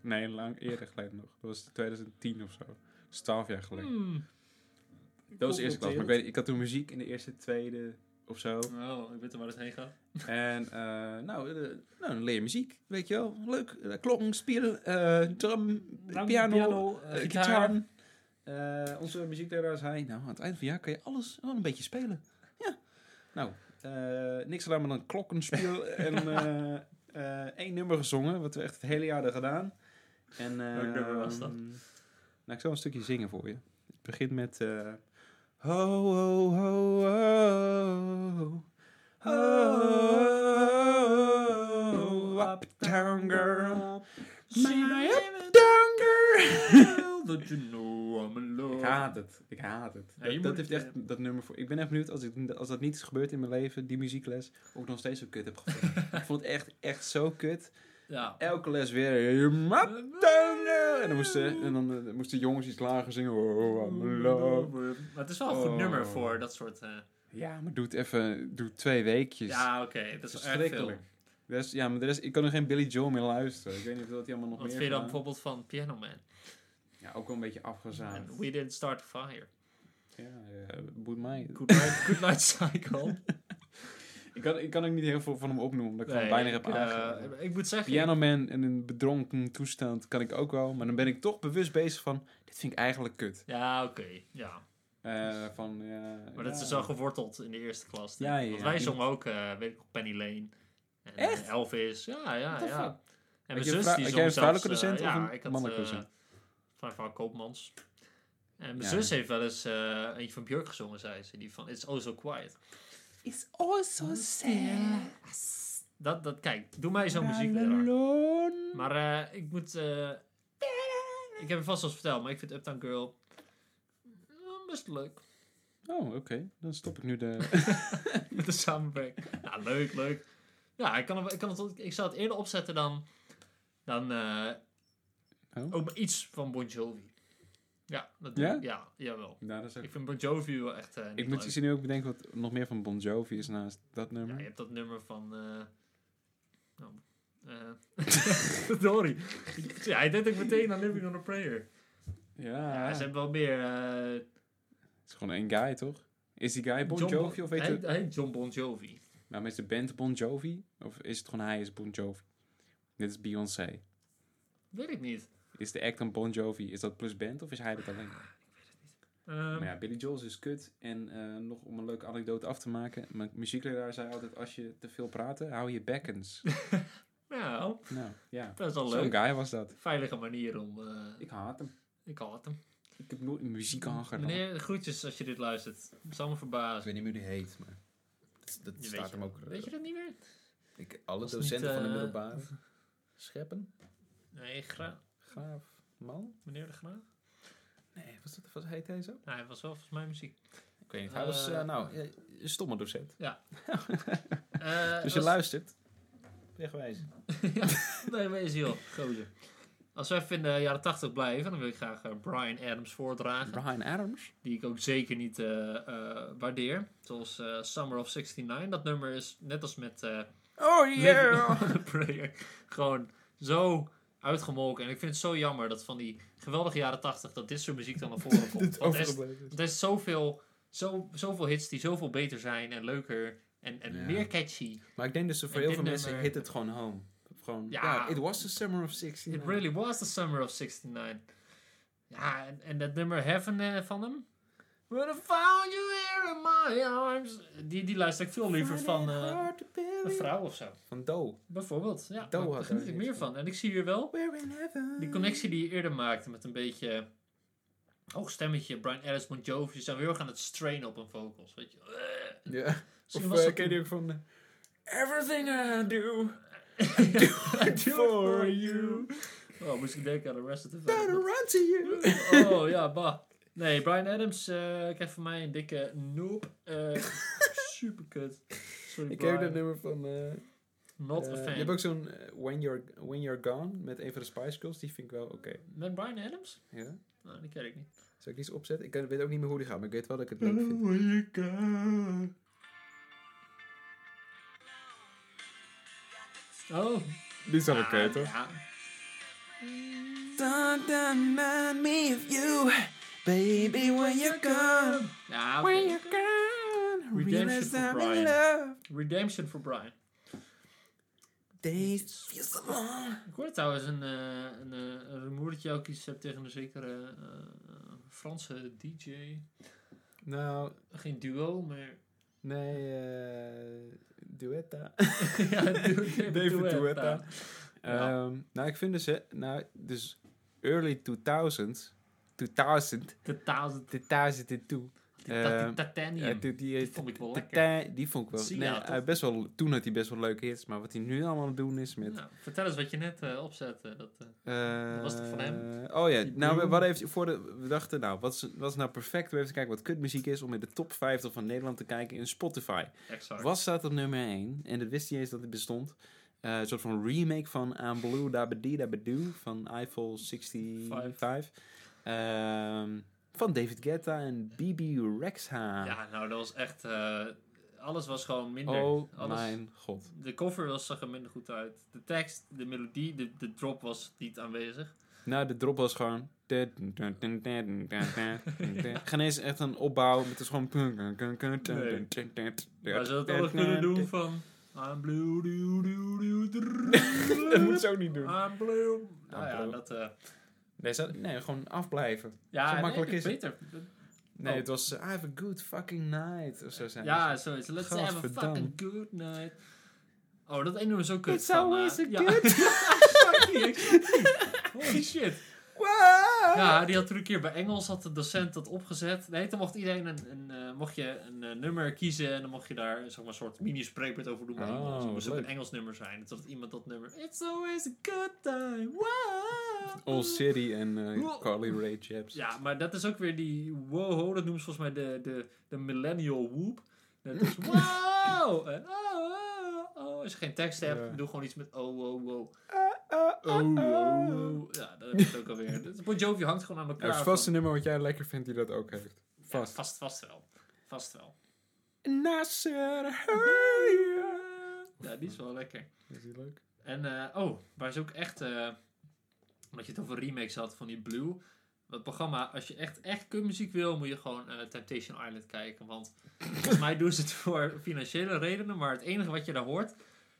S5: Nee, lang eerder geleden nog. Dat was 2010 of zo. Dat is 12 jaar geleden.
S4: Hmm.
S5: Dat was de eerste klas. Maar ik, weet, ik had toen muziek in de eerste, tweede of zo.
S4: Oh, ik weet er waar het heen gaat.
S5: En eh, nou, eh, nou, dan leer je muziek, weet je wel. Leuk. Eh, Klok, spieren, eh, drum,
S4: Lang
S5: piano,
S4: eh,
S5: eh, gitaar. Eh, onze muziekleraar zei, nou, aan het eind van het jaar kan je alles wel een beetje spelen. Ja. Nou, eh, niks alleen maar dan klokkenspiel en eh, eh, één nummer gezongen, wat we echt het hele jaar hadden gedaan. En, eh,
S4: Welk nummer was dat?
S5: Nou, ik zal een stukje zingen voor je. Het begint met... eh, ho, ho, ho, ho. Ho, ho, ho, uptown girl. My uptown girl.
S4: Dat you know I'm alone.
S5: Ik haat het. Ik haat het.
S4: Ja,
S5: dat,
S4: je moet
S5: dat
S4: het,
S5: heeft echt dat nummer voor. Ik ben echt benieuwd als, ik, als dat niet is gebeurd in mijn leven, die muziekles, of ik nog steeds zo kut heb gevonden. ik vond het echt, echt zo kut.
S4: Ja.
S5: Elke les weer. "Map down there." En dan moesten, en dan, eh, moesten jongens iets lager zingen. Oh, I'm in love.
S4: Maar het is wel een goed
S5: Oh.
S4: nummer voor dat soort... eh,
S5: Ja, maar doe het even. Doe twee weekjes.
S4: ja, oké, dat is erg veel.
S5: Verschrikkelijk. De rest- ja, maar de rest, ik kan er geen Billy Joel meer luisteren. Ik weet niet of dat hij allemaal nog
S4: Wat
S5: meer
S4: vind je dan
S5: gedaan.
S4: bijvoorbeeld van Piano Man?
S5: Ja, ook wel een beetje afgezaagd.
S4: En We Didn't Start a Fire.
S5: Ja, eh, boeit mij.
S4: Good Light, good light Cycle.
S5: Ik kan, ik kan ook niet heel veel van hem opnoemen, omdat ik van weinig heb
S4: ik, eh,
S5: aangeraakt.
S4: ik moet zeggen...
S5: Piano Man in een bedronken toestand kan ik ook wel, maar dan ben ik toch bewust bezig van, dit vind ik eigenlijk kut.
S4: Ja, oké. ja.
S5: Eh, van, ja,
S4: Maar dat
S5: ja.
S4: is dus al geworteld in de eerste klas. denk
S5: Ja,
S4: ik.
S5: ja,
S4: Want
S5: ja.
S4: wij zongen ook, eh, weet ik nog, Penny Lane. En eh,
S5: Echt?
S4: Elvis. Ja, ja,
S5: What the
S4: ja.
S5: fuck?
S4: En
S5: Had
S4: mijn
S5: je
S4: zus
S5: vrou-
S4: die zong
S5: had jij een
S4: zelfs,
S5: vrouwelijke
S4: eh,
S5: docent of
S4: ja,
S5: een
S4: ik had,
S5: mannelijke
S4: eh,
S5: docent?
S4: Van mevrouw Koopmans. En mijn
S5: Ja.
S4: zus heeft wel eens eh, eentje van Björk gezongen, zei ze. Die van It's Oh So Quiet.
S1: It's all so sad.
S4: Dat, dat, kijk, doe mij zo'n muziekleraar.
S5: Alone.
S4: Maar eh, ik moet... eh, ik heb het vast al eens verteld, maar ik vind Uptown Girl eh, best leuk.
S5: Oh, oké. Dan stop ik nu de...
S4: Met de samenwerking. Nou, leuk, leuk. Ja, ik, kan hem- ik, kan het, ik zou het eerder opzetten dan, dan eh,
S5: Oh.
S4: ook maar iets van Bon Jovi. Ja, dat doe
S5: Ja?
S4: ik. Ja, jawel.
S5: nou, dat is ook-
S4: Ik vind Bon Jovi wel echt eh, niet
S5: Ik moet
S4: leuk.
S5: je nu ook bedenken wat nog meer van Bon Jovi is naast dat
S4: Ja,
S5: nummer.
S4: je hebt dat nummer van... eh nou, eh, Dory. ja, hij deed ook meteen aan Living on a Prayer.
S5: Ja,
S4: Ja, ze hebben wel meer... eh,
S5: het is gewoon één guy, toch? Is die guy Bon
S4: John
S5: Jovi of weet
S4: hij,
S5: je...
S4: hij heet John Bon Jovi.
S5: Maar is de band Bon Jovi? Of is het gewoon hij is Bon Jovi? Dit is Beyoncé.
S4: Weet ik niet.
S5: Is de act dan Bon Jovi? Is dat plus band of is hij dat alleen?
S4: Ehm,
S5: Maar ja, Billy Joel is kut. En eh, nog om een leuke anekdote af te maken. Mijn muziekleraar zei altijd, als je te veel praat, hou je bekkens.
S4: Nou,
S5: nou, ja.
S4: dat is wel
S5: Zo'n
S4: leuk.
S5: guy was dat.
S4: Veilige manier om... eh,
S5: Ik haat hem.
S4: ik haat hem.
S5: Ik heb nooit muziek aangedaan.
S4: Meneer, groetjes als je dit luistert. Dat zal me verbazen.
S5: weet niet hoe die heet, maar... Dat, dat
S4: Je weet, je, weet je dat niet meer?
S5: eh, Ik, alle
S4: was docenten niet, van de eh, middelbare.
S5: Scheppen?
S4: Nee, Gra
S5: Graaf? Man?
S4: meneer de Graaf?
S5: Nee, was dat, was, heet hij zo?
S4: Nou, hij was wel volgens mij muziek.
S5: Ik weet niet.
S4: hij was, eh,
S5: nou, een stomme docent.
S4: Eh,
S5: Dus je
S4: als-
S5: luistert. Wegwijzen.
S4: Nee, wees heel gozer. Als we even in de jaren 80 blijven, dan wil ik graag eh, Brian Adams voordragen.
S5: Brian Adams.
S4: Die ik ook zeker niet eh, eh, waardeer. Zoals eh, Summer of 69. Dat nummer is net als met eh,
S5: Oh
S4: Living on a Prayer. Gewoon zo uitgemolken. En ik vind het zo jammer dat van die geweldige jaren 80 dat dit soort muziek dan naar voren komt. Want er is- Want er is zoveel, zo, zoveel hits die zoveel beter zijn en leuker en, en
S5: Ja.
S4: meer catchy.
S5: Maar ik denk dus voor
S4: En
S5: heel
S4: dit
S5: veel mensen
S4: nummer-
S5: hit het gewoon home. Gewoon, ja.
S4: Ja.
S5: it was the summer of 16.
S4: It really was the summer of 69. Ja, en, en dat nummer Heaven eh, van hem. When I found you here in my arms. Die, die luister ik veel liever van eh, een vrouw of zo.
S5: Van Do.
S4: Bijvoorbeeld. Ja, Nou,
S5: Doha
S4: daar geniet ik
S5: trouwens.
S4: meer van. En ik zie hier wel
S5: We're in heaven.
S4: die connectie die je eerder maakte met een beetje hoog stemmetje. Brian Ellis, Bon Jovi. Ze zijn heel erg aan het strainen op hun vocals. Weet je.
S5: Ja.
S4: Misschien
S5: of
S4: was
S5: eh,
S4: dat
S5: ken je ook van... eh, Everything I do,
S4: Do it
S5: for you.
S4: Oh, moest ik denken aan Arrested
S5: gotta
S4: Development.
S5: run to you.
S4: Oh, ja, bah. Nee, Brian Adams eh, krijgt van mij een dikke nope. Eh super kut. Sorry,
S5: Ik
S4: Brian.
S5: heb dat nummer van... eh,
S4: Not
S5: eh,
S4: a
S5: je
S4: fan.
S5: hebt ook zo'n eh, When, You're, When You're Gone met een van de Spice Girls. Die vind ik wel oké.
S4: Met Brian Adams?
S5: Ja?
S4: Nou, die ken ik niet.
S5: Zal ik die eens opzetten? Ik weet ook niet meer hoe die gaat, maar ik weet wel dat ik het leuk vind.
S4: Oh.
S2: Die is wel oké, toch?
S4: Ja.
S1: Don't remind me of you, baby, when you're gone.
S4: Ja,
S1: When
S4: oké.
S1: you're gone, realize
S4: Redemption for
S1: I'm in
S4: Brian.
S1: love.
S4: Redemption for Brian.
S1: Days feel so long.
S4: Ik hoorde trouwens een, eh een, eh, een rumoertje ook iets hebt tegen een zekere eh, Franse DJ.
S5: Nou,
S4: Geen duo, maar...
S5: nee, eh Duetta.
S4: ja,
S5: David Duetta.
S4: Ja.
S5: Ehm, nou, ik vind dus, hè, nou, dus early 2000, 2000,
S4: De duizend.
S5: 2002. Ehm, Ja,
S4: Titanium.
S5: die, die,
S4: Die vond ik wel
S5: die-
S4: lekker.
S5: die- die vond ik wel.
S4: Sia,
S5: nee,
S4: toch?
S5: hij best wel. Toen had hij best wel leuke hits, maar wat hij nu allemaal aan het doen is met.
S4: Nou, vertel eens wat je net eh, opzette. Dat, eh,
S5: eh,
S4: was toch van hem?
S5: Oh ja,
S4: Die
S5: nou, we,
S4: Bloom?
S5: wat heeft, voor de, we dachten, nou, wat is, wat is nou perfect? We even kijken wat kutmuziek is om in de top 50 van Nederland te kijken in Spotify.
S4: exact.
S5: Wat staat op nummer 1? En dat wist niet eens dat het bestond. Eh, een soort van remake van I'm Blue Dabadi Dabadoo van Eiffel 65. Ehm, van David Guetta en Bibi Rexha.
S4: Ja, nou, dat was echt... eh, alles was gewoon minder.
S5: oh
S4: alles,
S5: mijn god.
S4: De cover was, zag er minder goed uit. De tekst, de melodie, de, de drop was niet aanwezig.
S5: Nou, de drop was gewoon... Geen eens echt een opbouw. Het is gewoon...
S4: Maar ze hadden alles kunnen doen van... I'm blue, do, do, do, do,
S5: Dat moet ze ook niet doen.
S4: I'm blue. Nou ja,
S5: blue.
S4: dat... eh,
S5: Nee, ze- nee, gewoon afblijven.
S4: ja,
S5: Zo
S4: nee,
S5: makkelijk
S4: dat
S5: is het.
S4: beter. Dat-
S5: Nee,
S4: Oh.
S5: het was eh, I have a good fucking night. Of zo zijn
S4: Ja, zoiets. Let's have a
S5: Gadverdamme.
S4: fucking good night. Oh, dat ene nummer is ook kut.
S5: It's
S4: van,
S5: always
S4: eh,
S5: a
S4: ja.
S5: good-
S4: Fuck you. Holy shit. Ja, die had toen een keer bij Engels had de docent dat opgezet. Nee, toen mocht iedereen een, een, eh, mocht je een eh, nummer kiezen en dan mocht je daar zeg maar, een soort mini-spreekbeurt over doen. bij
S5: Oh,
S4: Engels. Het moest ook
S5: leuk.
S4: een Engels nummer zijn. Totdat iemand dat nummer. It's always a good time. Wow.
S5: All City en
S4: Wow.
S5: eh, Carly Rae Jepsen.
S4: Ja, maar dat is ook weer die wow, dat noemen ze volgens mij de, de, de millennial whoop. Dat is wow! En oh, oh, oh. Als je geen tekst hebt,
S5: Ja. Eh,
S4: doe gewoon iets met oh, oh, oh. Oh, oh, oh. Ja, dat heb je het ook alweer. Dat- Bon Jovi hangt gewoon aan
S5: Ja,
S4: elkaar.
S5: het eh. is vast
S4: van-
S5: een nummer wat jij lekker vindt die dat ook heeft.
S4: Ja,
S5: Vast.
S4: vast, vast wel. Vast wel.
S5: Nasser, hurry up.
S4: Ja, die is wel lekker.
S5: Is die leuk?
S4: En, eh, oh, waar ze ook echt... eh omdat je het over remakes had van die Blue. Dat programma, als je echt, echt kunstmuziek wil, moet je gewoon eh, Temptation Island kijken. Want volgens mij doen ze het voor financiële redenen. Maar het enige wat je daar hoort,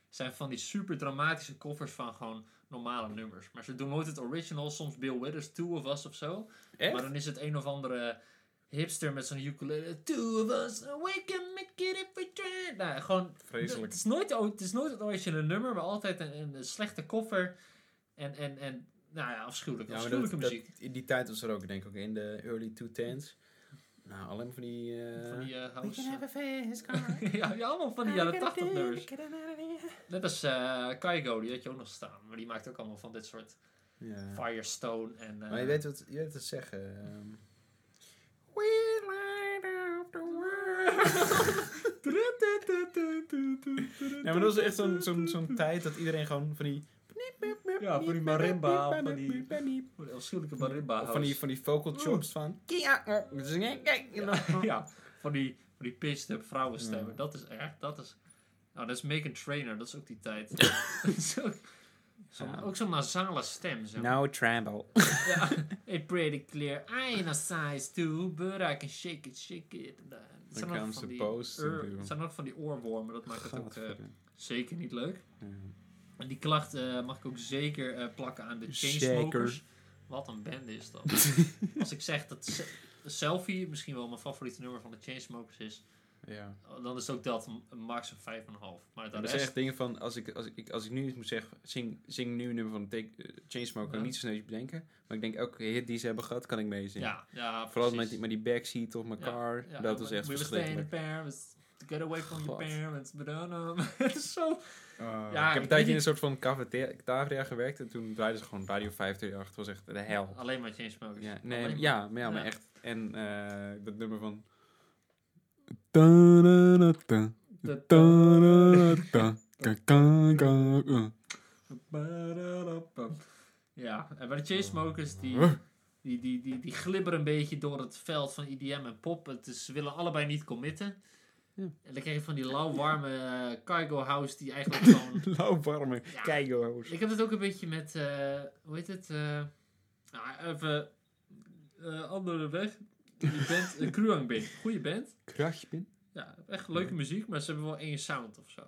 S4: zijn van die super dramatische covers van gewoon normale nummers. Maar ze doen nooit het original, soms Bill Withers, Two of Us of zo.
S5: Echt?
S4: Maar dan is het een of andere hipster met zo'n ukulele. Two of Us, we can make it if we try. Nou, gewoon
S5: Vreselijk.
S4: het is nooit, o- het is nooit het originele nummer, maar altijd een, een slechte koffer. En, en, en nou ja, afschuwelijk.
S5: Ja, maar dat,
S4: afschuwelijke muziek.
S5: dat- in die tijd was er ook, denk ik, ook in de early 2010s. Nou, alleen van die... eh,
S4: van die eh,
S1: We can
S4: house.
S1: have a fast car.
S4: ja, ja, allemaal van die
S1: I
S4: jaren
S1: got a
S4: 80
S1: thing,
S4: nummers.
S1: get it out of here.
S4: Net als eh Kaigo, die had je ook nog staan. Maar die maakt ook allemaal van dit soort
S5: ja.
S4: Firestone en... eh,
S5: Maar je weet wat je weet wat ze zeggen. ehm.
S1: We light up the world.
S5: Nee, maar dat was echt zo'n zo'n zo'n tijd dat iedereen gewoon van die...
S4: Ja, van die marimba, van die- van die afschuwelijke marimba
S5: Of van die, van die vocal chops van...
S4: house. ja, van die, van die pissed-up vrouwenstemmen. Dat is echt, dat is... Nou, dat is Make a Trainer, dat is ook die tijd. Dat is ook- zo'n-
S5: Ja.
S4: Ook zo'n nasale stem, zeg maar.
S5: No tramble.
S4: Ja, it pretty clear. I ain't a size two, but I can shake it, shake it. Nou, het zijn ook
S5: gaan
S4: van
S5: ze
S4: die
S5: boos te
S4: oor-
S5: doen.
S4: Het zijn ook van die oorwormen, dat maakt het ook eh,
S5: Gadverdamme.
S4: zeker niet leuk.
S5: Ja.
S4: En die klacht eh, mag ik ook zeker eh, plakken aan de Chainsmokers. Wat een band is dat. Als ik zeg dat... ze- Selfie, misschien wel mijn favoriete nummer van de Chainsmokers is.
S5: Ja.
S4: Dan is het ook dat, een- een max een 5,5. Maar de
S5: Dat zijn
S4: rest...
S5: echt dingen van, als ik, als ik, als ik nu iets moet zeggen, zing, zing nu een nummer van take, eh, Chainsmoker,
S4: Ja.
S5: niet zo snel iets bedenken. Maar ik denk, elke hit die ze hebben gehad, kan ik meezingen.
S4: Ja, ja,
S5: Vooral met
S4: precies.
S5: die, met die backseat of mijn
S4: Ja,
S5: car,
S4: ja,
S5: dat was echt
S4: We were staying
S5: verschrikkelijk.
S4: in Paris, to get away from your
S5: God.
S4: parents. but, uh, no. Het is zo... Ja,
S5: ik heb
S4: ik
S5: een
S4: weet
S5: tijdje in
S4: niet-
S5: een soort van cafeteria cafeteria gewerkt en toen draaiden ze gewoon Radio 538. Het was echt de hel.
S4: Alleen maar Chainsmokers.
S5: Ja,
S4: Alleen
S5: nee,
S4: maar.
S5: ja, maar, ja, maar
S4: Ja.
S5: echt. En eh, dat nummer van...
S4: Dat- Ja, en bij de Chainsmokers, die, die, die, die, die glibberen een beetje door het veld van IDM en pop. Het is, ze willen allebei niet committen.
S5: Ja.
S4: En dan krijg je van die lauw warme eh, cargo house die eigenlijk gewoon...
S5: Lauw warme
S4: Ja.
S5: keigo's.
S4: Ik heb het ook een beetje met, eh, hoe heet het? eh, nou, even eh, andere weg. Die band, uh, Kruang Band. Goeie band.
S5: Krachje
S4: Ja, echt leuke muziek, maar ze hebben wel één sound of zo.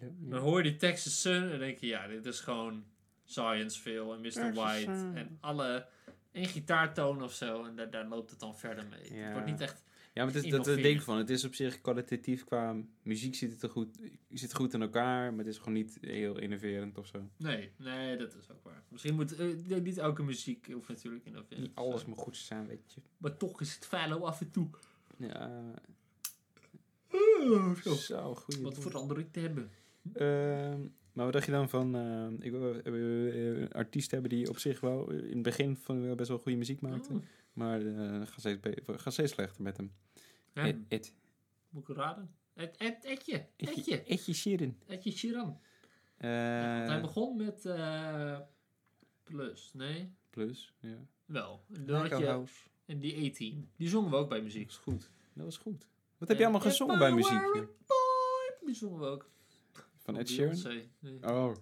S5: Ja,
S4: Dan hoor je die Texas Sun en denk je, ja, dit is gewoon Science en Mr. White
S5: Sun.
S4: en alle één gitaartoon of zo. En daar, daar loopt het dan verder mee.
S5: Ja.
S4: Het wordt niet echt.
S5: Ja, maar het is, dat is het ding van. Het is op zich kwalitatief qua muziek zit het er goed, zit goed in elkaar, maar het is gewoon niet heel innoverend of zo.
S4: Nee, nee, dat is ook waar. Misschien moet. eh, nee, niet elke muziek hoeft natuurlijk in of
S5: Niet alles moet goed zijn, weet je.
S4: Maar toch is het fijn om af en toe eh,
S5: Ja,
S4: zo.
S5: zo goed.
S4: wat verandering te hebben.
S5: Ehm, maar wat dacht je dan van... ehm, ik wil eh, eh, een artiest hebben die op zich wel eh, in het begin van wel best wel goede muziek maakte.
S4: Oh,
S5: Maar eh gaat, steeds be- gaat steeds slechter met hem. Eh,
S4: ja,
S5: Ed, Ed,
S4: Moet ik raden? Ed, Ed, Edje.
S5: Edje,
S4: Edje.
S5: Edje Sheeran.
S4: Edje Sheeran.
S5: Eh,
S4: Ja, want hij begon met. eh, plus, nee?
S5: plus, ja.
S4: Wel. Dan had
S5: Echo
S4: je
S5: House.
S4: En die A-team. Die zongen we ook bij muziek.
S5: Dat is goed. Dat was goed. Wat heb je allemaal gezongen bij muziek? joh?
S4: Die zongen we ook.
S5: Van Ed Sheeran?
S4: Beyoncé. Nee.
S5: Oh.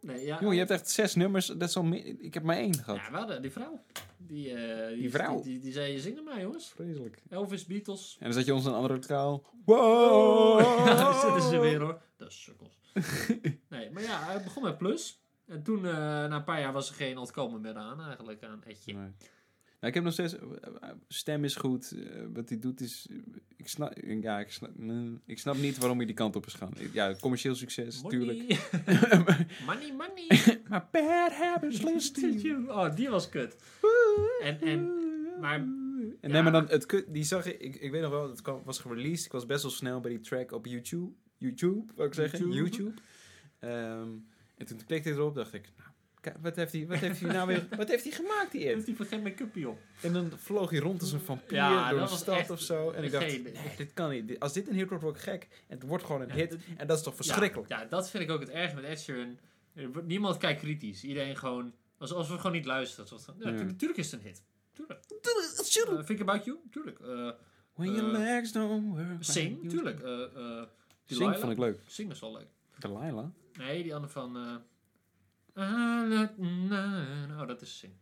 S4: Nee, ja.
S5: Jongen, je hebt echt zes nummers. Dat is al meer- ik heb maar één gehad.
S4: Ja, we hadden die vrouw. Die, eh, die,
S5: vrouw?
S4: Die, die, die zei, zing er maar jongens.
S5: Vreselijk.
S4: Elvis, Beatles.
S5: En dan zat je ons in een andere taal.
S4: Oh, daar zitten ze weer
S5: Wow!
S4: hoor. Dat is sukkels. nee, maar ja, hij begon met Plus. En toen, eh, na een paar jaar, was er geen ontkomen meer aan eigenlijk, aan Edje.
S5: Nee. Nou, ik heb nog steeds... Stem is goed. eh, wat hij doet is... Ik snap, ja, ik, snap, mm, ik snap niet waarom hij die kant op is gaan. Ja, commercieel succes, tuurlijk.
S4: Money. money, money.
S5: Maar bad habits list to you.
S4: oh, die was kut. En- en- maar-
S5: En
S4: ja.
S5: nee, maar dan... Het, kut- die zag ik, ik... Ik weet nog wel, het kwam, was gereleased. Ik was best wel snel bij die track op YouTube. YouTube, wou ik zeggen.
S4: YouTube.
S5: YouTube. Ehm, en toen klikte ik erop, dacht ik... Nou, kijk, wat heeft hij, wat heeft hij nou weer... Wat heeft hij gemaakt, die Ed?
S4: Heeft hij voor geen make-upie op?
S5: En dan vloog hij rond als een vampier
S4: Ja,
S5: door de
S4: dat was
S5: stad
S4: echt
S5: of zo. En ik dacht,
S4: geen-
S5: nee, dit kan niet. Dit- Als dit een hit wordt, word ik gek. En het wordt gewoon een
S4: Ja,
S5: hit.
S4: dit-
S5: En dat is toch verschrikkelijk?
S4: Ja, ja, dat vind ik ook het erg met Ed Sheeran. Er wordt- Niemand kijkt kritisch. Iedereen gewoon... Als, als we gewoon niet luisteren. Zoals, dan- ja,
S5: Ja.
S4: tu- Natuurlijk is het een hit. Tuurlijk.
S5: Tuurlijk.
S4: Eh, think About You? Tuurlijk. Eh,
S5: When your
S4: eh,
S5: legs don't work.
S4: Sing? Tuurlijk. Eh, eh,
S5: Sing
S4: Delilah?
S5: vond ik leuk.
S4: Sing is wel leuk.
S5: Delilah?
S4: Nee, die andere van... eh, Ah, let- na- oh, dat is Sing.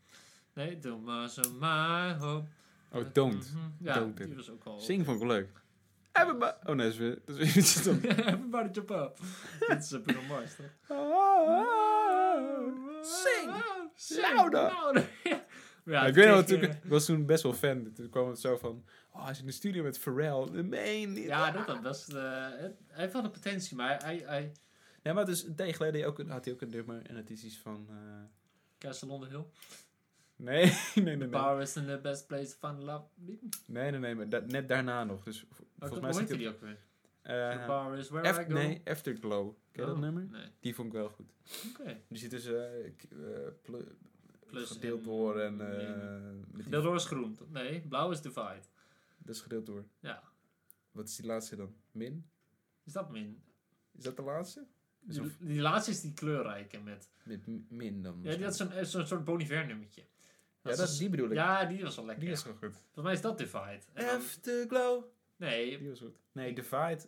S4: Nee, Don't Master My Hope.
S5: Oh, don't.
S4: Mhm. Ja,
S5: Don't
S4: die
S5: do.
S4: was ook al...
S5: Sing vond ik leuk. Everybody. Oh nee, dat is weer- dat is weer iets anders.
S4: Everybody jump up. Dat is eh, Bruno Mars, toch?
S5: Sing!
S4: Ah,
S5: Louder.
S4: louder. ja, eh,
S5: Ja, ik
S4: toen
S5: weet nog,
S4: kreeg
S5: toen
S4: je-
S5: ik ik was toen best wel fan. Toen kwam het zo van... Oh, hij is eh, in de studio met Pharrell. De main.
S4: Ja, dat dan. Dat is, eh, het- hij heeft wel de potentie, maar hij... hij
S5: Nee, maar dus een tijd geleden had hij ook een- had hij ook een nummer. En het is iets van... eh,
S4: Castle on the Hill.
S5: Nee, nee, nee,
S4: The
S5: nee.
S4: power is in the best place to find love. Oh,
S5: Nee, nee, nee, maar da- net daarna nog. Dus v- volgens
S4: dat-
S5: mij
S4: Hoe
S5: zit
S4: heette
S5: het...
S4: die ook weer? the
S5: eh,
S4: power is where I
S5: Af-
S4: go.
S5: nee, Afterglow. Ken je
S4: Oh,
S5: dat nummer?
S4: Nee.
S5: Die vond ik wel goed.
S4: Oké.
S5: Die zit tussen eh, k- eh, plu-
S1: Dus,
S4: Plus
S5: gedeeld
S4: en-
S1: ehm,
S5: door en...
S4: nee.
S5: eh, met die-
S4: Gedeeld door is groen. toch? Nee, blauw is divide.
S5: dat is gedeeld door.
S4: Ja.
S5: Wat is die laatste dan? Min?
S4: Is dat min?
S5: Is dat de laatste? Is
S4: Die,
S5: een-
S4: die laatste is die kleurrijke met...
S5: Met m- min dan.
S4: Ja, dat is zo'n eh, zo'n soort Boniver nummertje.
S5: ja dat is, die bedoel ik.
S4: Ja, die was wel lekker.
S5: die is wel goed.
S4: Volgens mij is dat divide. En dan-
S5: Afterglow.
S4: nee,
S5: Die was goed. Nee, Divide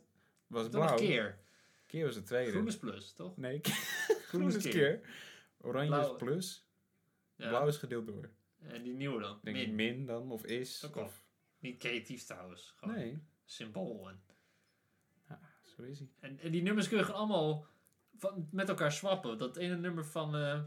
S5: was
S4: dan
S5: blauw.
S4: een keer.
S5: Keer was de tweede.
S4: Groen is plus, toch?
S5: Nee, groen is
S4: keer.
S5: keer. Oranje
S4: Blauw-
S5: is plus.
S4: Ja.
S5: Blauw is gedeeld door.
S4: En die nieuwe dan?
S5: Ik Denk min.
S4: Min.
S5: min dan, of is.
S4: Ook al.
S5: of,
S4: Niet creatief trouwens. Gewoon
S5: nee,
S4: symbool. En,
S5: zo is hij.
S4: en, en die nummers kun je gewoon allemaal van, met elkaar swappen. Dat ene nummer van... eh,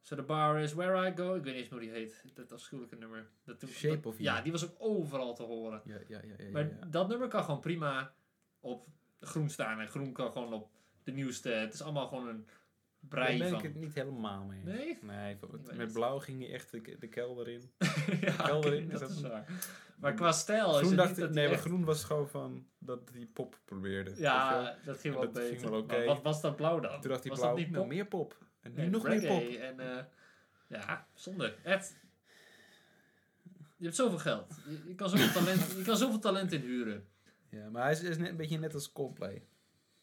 S4: So the bar is where I go. Ik weet niet eens meer hoe die heet. Dat afschuwelijke nummer. Dat toen,
S1: Shape
S4: dat-
S1: of You.
S4: Ja, die was ook overal te horen.
S1: Ja, ja, ja. ja,
S4: Maar
S1: ja.
S4: dat nummer kan gewoon prima op groen staan. En groen kan gewoon op de nieuwste. Het is allemaal gewoon een
S1: Daar
S4: brei
S1: ben ik
S4: van.
S1: het niet helemaal mee. eens.
S4: Nee?
S1: Nee, voor-
S4: Ik
S1: met
S4: weet het.
S1: blauw ging je echt de, ke- de kelder in.
S4: ja,
S1: Kelder
S4: oké,
S1: in, is
S4: dat
S1: dat
S4: is
S1: een-
S4: waar. Maar qua stijl is
S1: groen
S4: het
S1: dacht
S4: niet dat
S1: ik,
S4: die
S1: nee, maar
S4: echt-
S1: groen was gewoon van dat die pop probeerde. Weet je
S4: Ja, dat ging
S1: Ja,
S4: wel
S1: dat
S4: beter.
S1: ging wel oké.
S4: Maar wat was dat blauw dan?
S1: wel? Toen dacht hij
S4: was
S1: blauw,
S4: dat niet
S1: nou,
S4: pop?
S1: meer pop. En nu
S4: En
S1: nog meer
S4: reggae
S1: pop.
S4: En, eh, ja, zonde. Ed, je hebt zoveel geld. Je, je kan, zoveel talent, je kan zoveel talent inhuren.
S1: Ja, maar hij is, is net, een beetje net als Coldplay.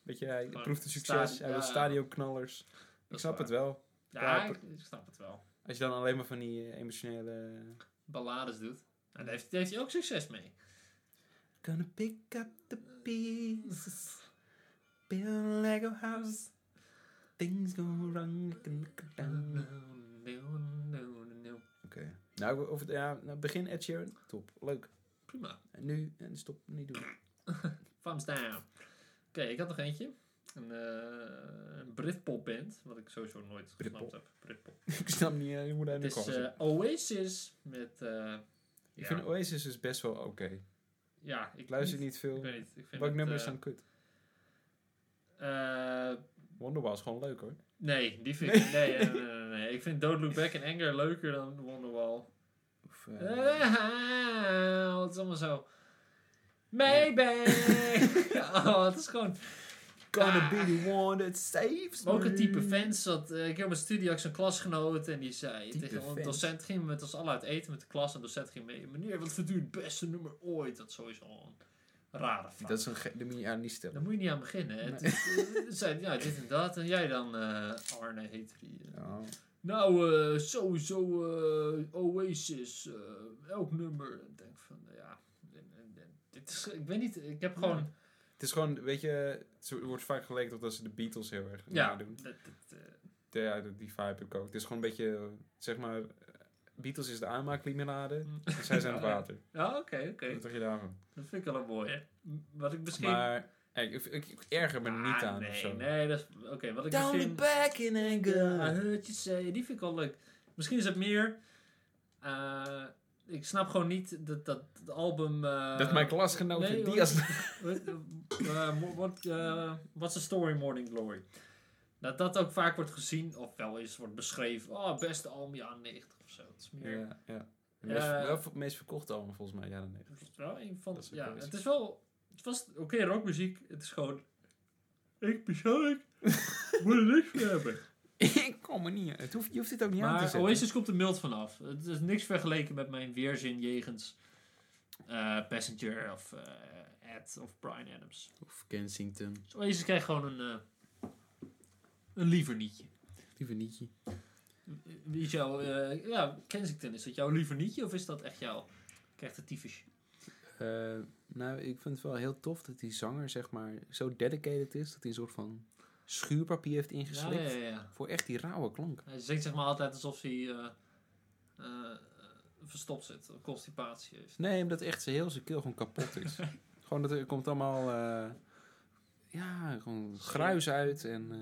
S1: Beetje, hij
S4: Gewoon
S1: proeft het succes,
S4: Oh, sta-
S1: hij wil
S4: ja.
S1: stadioknallers. Ik
S4: is
S1: snap
S4: waar.
S1: het wel.
S4: Ja,
S1: Ja,
S4: ik, ik snap het wel.
S1: Als je dan alleen maar van die eh, emotionele...
S4: Ballades doet. En daar heeft, daar heeft hij ook succes mee.
S1: Gonna pick up the pieces. Build like a house. Things go wrong. like a knock down. Oké. Nou, over, ja, nou, begin Ed Sheeran. Top. Leuk.
S4: Prima.
S1: En nu, en stop, niet doen.
S4: Thumbs down. Oké, ik had nog eentje. Een, eh een Britpop band. Wat ik sowieso nooit
S1: Britpop.
S4: gesnapt heb. Britpop.
S1: ik snap niet eh, hoe daar
S4: Het
S1: nu
S4: is
S1: kwam.
S4: eh, Oasis met... eh,
S1: ik
S4: ja,
S1: vind Oasis dus best wel oké.
S4: ja, ik
S1: Ik luister niet
S4: Ik
S1: veel.
S4: weet niet. Ik vind
S1: Welk
S4: het,
S1: nummer is
S4: eh,
S1: dan kut?
S4: eh,
S1: Wonderwall is gewoon leuk hoor.
S4: nee, die vind ik... Nee, nee, nee, nee, nee. Ik vind Don't Look Back in Anger leuker dan Wonderwall.
S1: Of, eh,
S4: Ah, het is allemaal zo... Maybe! oh, het is gewoon...
S1: Gonna be the one that saves
S4: Maar ook
S1: me.
S4: een type fans. Dat, eh, ik heb op mijn studie ook zo'n klasgenoot en die zei
S1: Type
S4: tegen een
S1: fans.
S4: docent ging met ons allen uit eten met de klas en de docent ging mee. Meneer, wat vindt u het beste nummer ooit? Dat is sowieso een rare vraag.
S1: Dat is een ge- dat moet je aan niet stellen.
S4: Daar moet je niet aan beginnen. hè.
S1: Nee.
S4: Toen- toen zei hij, ja, dit en dat. En jij dan, eh, Arne heet die. eh.
S5: Oh.
S1: Ja.
S4: Nou, eh, sowieso eh, Oasis. eh, elk nummer. Ik denk van, eh, ja. en- en- en- Dit is, ik weet niet, ik heb gewoon...
S1: Het is gewoon, weet je, het zo- wordt vaak geleken tot dat ze de Beatles heel erg
S4: Ja,
S1: doen.
S4: dat- dat, eh,
S1: Ja, die die vibe heb ik ook. Het is gewoon een beetje, eh, zeg maar, eh, Beatles is de aanmaaklimonade
S4: Mm.
S1: en zij zijn het
S4: Ja.
S1: water.
S4: ja, oké, oké.
S1: Wat dacht je daarvan?
S4: Dat vind ik wel een mooie. Wat ik misschien...
S1: Maar, hey, ik, ik, ik erger me er niet
S4: Ah,
S1: aan
S4: nee,
S1: of zo.
S4: Nee, dat is... Oké, wat ik
S1: Down the
S4: misschien...
S1: back in
S4: Ja, I
S1: anger.
S4: heard you say. Die vind ik wel leuk. Misschien is het meer... eh, ik snap gewoon niet dat dat het album... eh,
S1: Dat mijn klasgenoot
S4: nee,
S1: die
S4: hoor.
S1: als...
S4: Wat- eh, mo- wat, eh, What's the story, Morning Glory? Dat dat ook vaak wordt gezien, of wel eens wordt beschreven. Oh, beste album, jaren 90 of zo. Het is meer...
S1: Ja, ja. De meest,
S4: Eh.
S1: wel het meest verkochte album volgens mij, ja dan nee.
S4: Het is wel een van...
S1: Dat is ook
S4: ja,
S1: wel eens.
S4: het is wel... Het was oké rockmuziek. Het is gewoon... Ik persoonlijk moet er niks van hebben.
S1: ik kom er niet aan. Het hoeft, je hoeft dit ook niet aan te
S4: Maar
S1: zetten.
S4: Oasis komt er mild vanaf. Het is niks vergeleken met mijn weerzin jegens eh, Passenger of eh, Ed of Brian Adams.
S1: Of Kensington.
S4: Dus Oasis krijgt gewoon een, eh, een liever nietje.
S1: Die vernietje.
S4: Wie is jouw... eh, ja, Kensington, is dat jouw liever nietje of is dat echt jouw... Krijgt het tyfus?
S1: Eh, nou, ik vind het wel heel tof dat die zanger, zeg maar, zo dedicated is. Dat hij een soort van schuurpapier heeft
S4: Ja,
S1: ingeslikt.
S4: ja, ja, ja.
S1: Voor echt die rauwe klank.
S4: Hij zingt zeg maar altijd alsof hij eh, eh, verstopt zit. of Constipatie heeft.
S1: Nee, omdat echt zijn heel zijn keel gewoon kapot is. gewoon dat er komt allemaal, eh, ja, gewoon gruis uit en eh,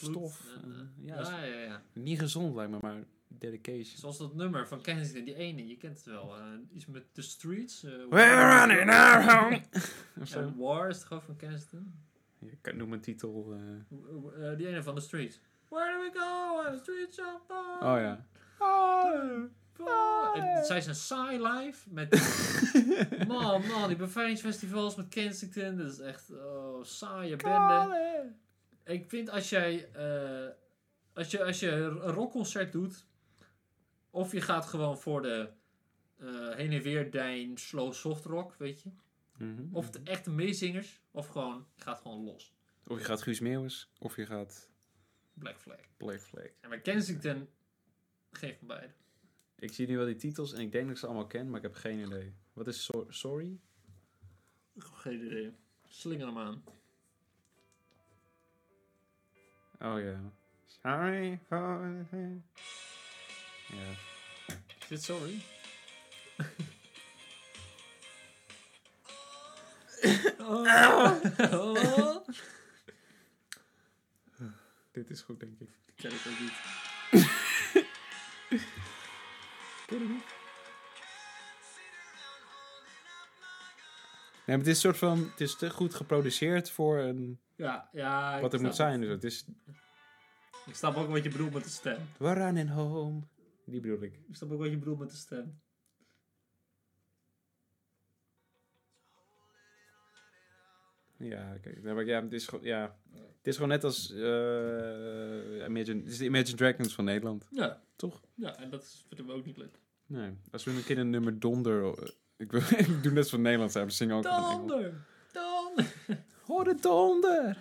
S4: Bloed
S1: stof.
S4: en,
S1: en,
S4: eh,
S1: ja, is
S4: ja, ja, ja.
S1: niet gezond lijkt me, maar dedication.
S4: Zoals dat nummer van Kensington, die ene, je kent het wel. eh, iets met The Streets. eh,
S1: We're running our home. of zo.
S4: En War is het gewoon van Kensington?
S1: Ik kan- noem een titel. eh,
S4: Eh, eh, die ene van The Streets. Where do we go? And the streets are far.
S1: Oh ja.
S4: far. En Zij zijn saai live met... man, man, die bevrijdingsfestivals met Kensington. Dat is echt, oh, saaie bende. Ik vind als jij, eh, als je, als je een rockconcert doet, of je gaat gewoon voor de eh, heen en weer dijn slow soft rock, weet je.
S1: Mhm.
S4: Of de echte meezingers, of gewoon, je gaat gewoon los.
S1: Of je gaat Guus Meeuwis, of je gaat
S4: Black Flag.
S1: Black Flag.
S4: En bij Kensington, geen van beide.
S1: Ik zie nu wel die titels en ik denk dat ik ze allemaal ken, maar ik heb geen idee. Wat is so- Sorry?
S4: Geen idee. Slinger hem aan.
S1: Oh ja. Sorry for... Ja.
S4: Is dit sorry? oh. oh.
S1: Dit is goed, denk ik.
S4: Ken ik ook niet.
S1: Ken je dat niet? Nee, maar het is een soort van... Het is te goed geproduceerd voor een,
S4: Ja, ja. ik
S1: wat er
S4: snap
S1: moet zijn. Dus het is...
S4: Ik snap ook wat je bedoelt met de stem.
S1: We're running home. Die bedoel ik.
S4: Ik snap ook wat je bedoelt met de stem.
S1: Ja, oké. Nee, maar ja, het is, gewoon- ja, het is gewoon net als eh, Imagine, het is de Imagine Dragons van Nederland.
S4: Ja.
S1: Toch?
S4: Ja, en dat is- vinden we ook niet leuk.
S1: Nee, als we een keer een nummer donder... eh, Ik, wil, ik doe net van Nederland zijn, we zingen ook van Engels.
S4: Donder! Donder!
S1: Hoor de donder!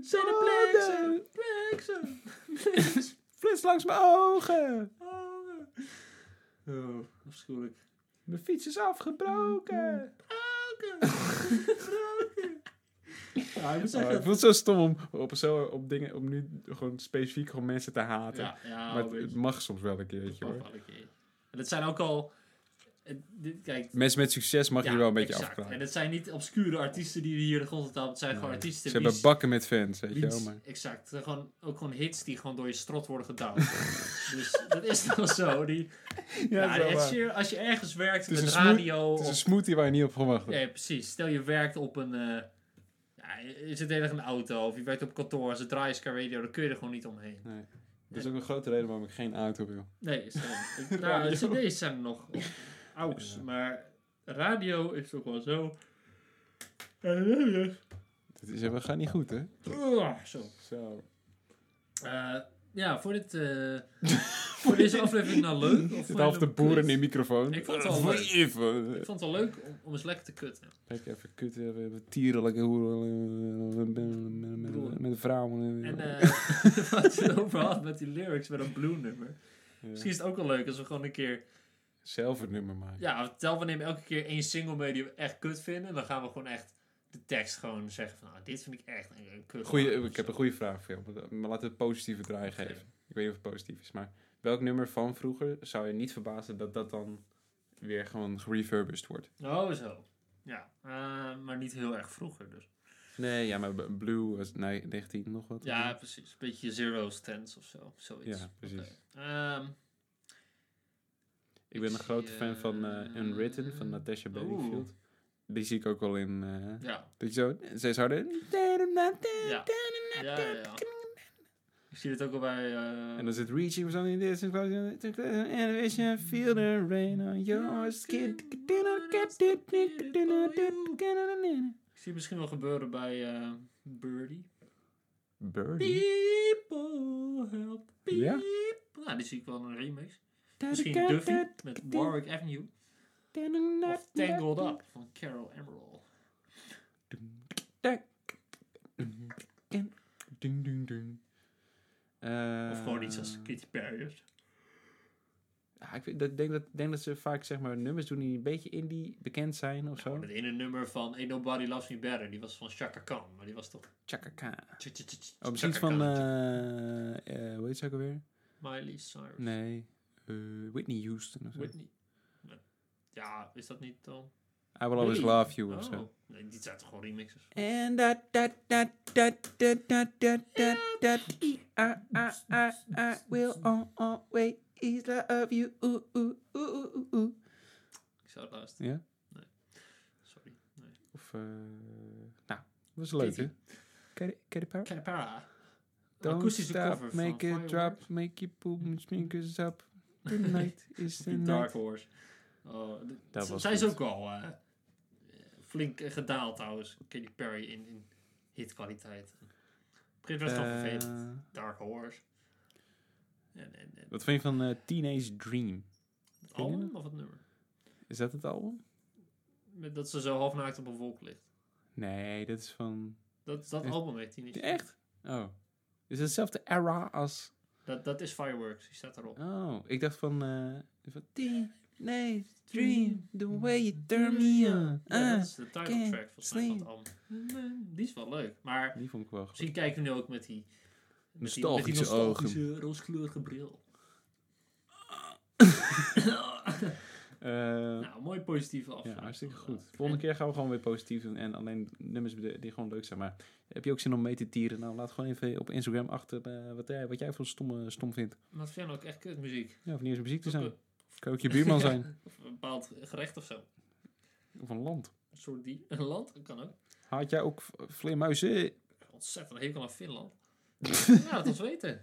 S4: Zijn er
S1: Donder!
S4: pleksen? Pleksen!
S1: Flits langs mijn ogen!
S4: Donder! Oh, afschuwelijk.
S1: Mijn fiets is afgebroken!
S4: Ja, ik moet
S1: Oh, ik
S4: zeggen...
S1: voel het zo stom om, op, zo, op dingen, om nu gewoon specifiek gewoon mensen te haten.
S4: Ja, ja,
S1: maar
S4: een
S1: het, het
S4: beetje.
S1: mag soms wel een keertje hoor.
S4: Wel een keer. En het zijn ook al... eh, dit- Kijk,
S1: Mensen met succes mag je wel een beetje
S4: exact. En
S1: afklappen.
S4: het zijn niet obscure artiesten die we hier de grond op tapen. Het zijn gewoon
S1: Ze
S4: artiesten
S1: hebben
S4: wiens-
S1: bakken met fans, weet je
S4: wiens-
S1: wel. Maar...
S4: Exact. Het zijn gewoon, ook gewoon hits die gewoon door je strot worden gedouwd. dus dat is dan zo. Die, ja,
S1: dat is wel
S4: Ed
S1: waar.
S4: Sheeran, als je ergens werkt
S1: Het is
S4: met
S1: een smoe-
S4: radio...
S1: Het is een
S4: of-
S1: smoothie waar je niet op verwacht had.
S4: Nee, precies. Stel je werkt op een... eh, ja, je je zit heel erg in een auto of je werkt op kantoor. Als het draait qua radio, dan kun je er gewoon niet omheen.
S1: Nee. Dat is ook een grote reden waarom ik geen auto wil.
S4: Nee, is dan- ik- nou,
S1: Radio.
S4: cd's zijn er nog. Aux,
S1: Ja.
S4: maar radio is toch wel zo... Eh,
S1: Het is helemaal gaat niet goed, hè?
S4: eh, Zo.
S1: Zo.
S4: Eh, ja, voor, dit, eh, voor deze aflevering nou leuk. Of vond
S1: Zit
S4: je
S1: half de
S4: hem
S1: boeren in
S4: kut?
S1: die microfoon.
S4: Ik vond het wel leuk.
S1: Even.
S4: Ik vond het wel leuk om, om eens lekker te kutten.
S1: Kijk even kut, we hebben tierlijke hoeren. Met, met vrouwen.
S4: En eh, wat je het over had met die lyrics met een blue nummer.
S1: Ja.
S4: Misschien is het ook wel leuk als we gewoon een keer...
S1: Zelf het nummer maken.
S4: Ja, vertel we nemen elke keer één single mee die we echt kut vinden. En dan gaan we gewoon echt de tekst gewoon zeggen van... Nou, dit vind ik echt een, een kut.
S1: Goeie,
S4: nummer of
S1: ik heb
S4: zo.
S1: een goede vraag voor jou, maar- maar laten we het positieve draai
S4: Oké.
S1: geven. Ik weet niet of het positief is, maar welk nummer van vroeger zou je niet verbazen dat dat dan weer gewoon gerefurbished wordt?
S4: Oh, zo. Ja, eh, maar niet heel erg vroeger dus.
S1: Nee, ja, maar B- Blue was nee, 19 nog wat.
S4: Ja, precies. Een beetje zero stands of zo. Zoiets.
S1: Ja, precies.
S4: Oké. Ehm,
S1: Ik ben een
S4: zie,
S1: grote fan van
S4: eh,
S1: eh, Unwritten van Natasha
S4: oeh.
S1: Bedingfield. Die zie ik ook wel in. eh
S4: ja.
S1: dat je zo, ze is harder.
S4: Ja. Ja, ja, ja. Ik zie het ook al bij... eh,
S1: En dan zit reaching for something this and closing to close an animation, feel the rain on your skin.
S4: ik zie het misschien wel gebeuren bij eh, Birdie.
S1: Birdie.
S4: People help people.
S1: Ja?
S4: Nou, die zie ik wel in een remix. Misschien Duffy met Warwick Avenue. Of Tangled Up van Carol Emerald.
S1: Ding, ding, ding. Eh,
S4: Of gewoon iets als Kitty Perry. of zo.
S1: Ja, ik vind- dat- denk dat, denk dat ze vaak zeg maar, nummers doen die een beetje indie bekend zijn of zo.
S4: Nou, Met in een nummer van Ain't Nobody Loves Me Better. Die was van Chaka Khan. Maar die was toch...
S1: Chaka Khan.
S4: tj- tj- tj- tj-
S1: Oh, misschien
S4: Chaka
S1: Oh, van,
S4: Khan.
S1: eh eh hoe heet ze ook alweer?
S4: Miley Cyrus.
S1: Nee, eh, Whitney Houston of zo.
S4: Whitney. Nee. Ja, is dat niet dan?
S1: I Will Always
S4: Really?
S1: Love You of
S4: Oh.
S1: zo.
S4: Nee, die zijn toch gewoon remixes?
S1: En dat, dat, dat, dat, dat, dat, dat, dat, dat, I, I, I, I will al- always love you, ooh, ooh, ooh, ooh, ooh.
S4: Ik zou het luisteren.
S1: Ja?
S4: Sorry.
S1: Of, eh nou, was leuk, hè?
S4: Katy.
S1: Katy- Katy Perry?
S4: Canapara. Een
S1: Don't
S4: akoestische
S1: stop,
S4: cover
S1: make
S4: van
S1: it drop, make it poop, my speakers up. The night is the
S4: Dark
S1: night.
S4: Horse. Oh, d-
S1: Dat
S4: z-
S1: was
S4: zij is
S1: goed.
S4: ook al eh, flink eh, gedaald trouwens. Katy Perry in, in hitkwaliteit. Het begint wel gewoon vervelend.
S1: Eh,
S4: Dark Horse. En, en, en
S1: Wat vind je van eh, Teenage Dream?
S4: het album of het nummer?
S1: Is dat het album?
S4: Met dat ze zo half naakt op een wolk ligt.
S1: Nee, dat is van...
S4: Dat, dat
S1: Eh,
S4: album heet die niet.
S1: Echt? Oh. Is het dezelfde era als...
S4: Dat, dat is Fireworks. Die staat erop.
S1: Oh, ik dacht van... eh van Teenage Dream, Mm. the way you turn me on.
S4: Ja, dat
S1: Ah.
S4: is de titeltrack volgens mij van het
S1: sleep.
S4: album. Die is wel leuk. Maar
S1: Die vond ik wel goed.
S4: Misschien kijken we nu ook met die... Met die, met die
S1: Nostalgische
S4: nostalgische rooskleurige bril.
S1: Eh, Eh,
S4: Nou, mooi positieve afsluiting.
S1: ja, hartstikke goed. Volgende keer gaan we gewoon weer positief doen. En alleen nummers die die gewoon leuk zijn. Maar heb je ook zin om mee te tieren? Nou, laat gewoon even op Instagram achter eh, wat, jij, wat jij voor stomme, stom vindt.
S4: Maar het zijn ook echt kut muziek.
S1: Ja, of niet eens muziek te zijn.
S4: Of
S1: Kan ook je buurman zijn.
S4: een bepaald gerecht of zo.
S1: Of een land.
S4: Een soort die. Een land kan ook.
S1: Haat jij ook v- vleermuizen?
S4: Ontzettend hekel aan Finland. ja, dat ons weten.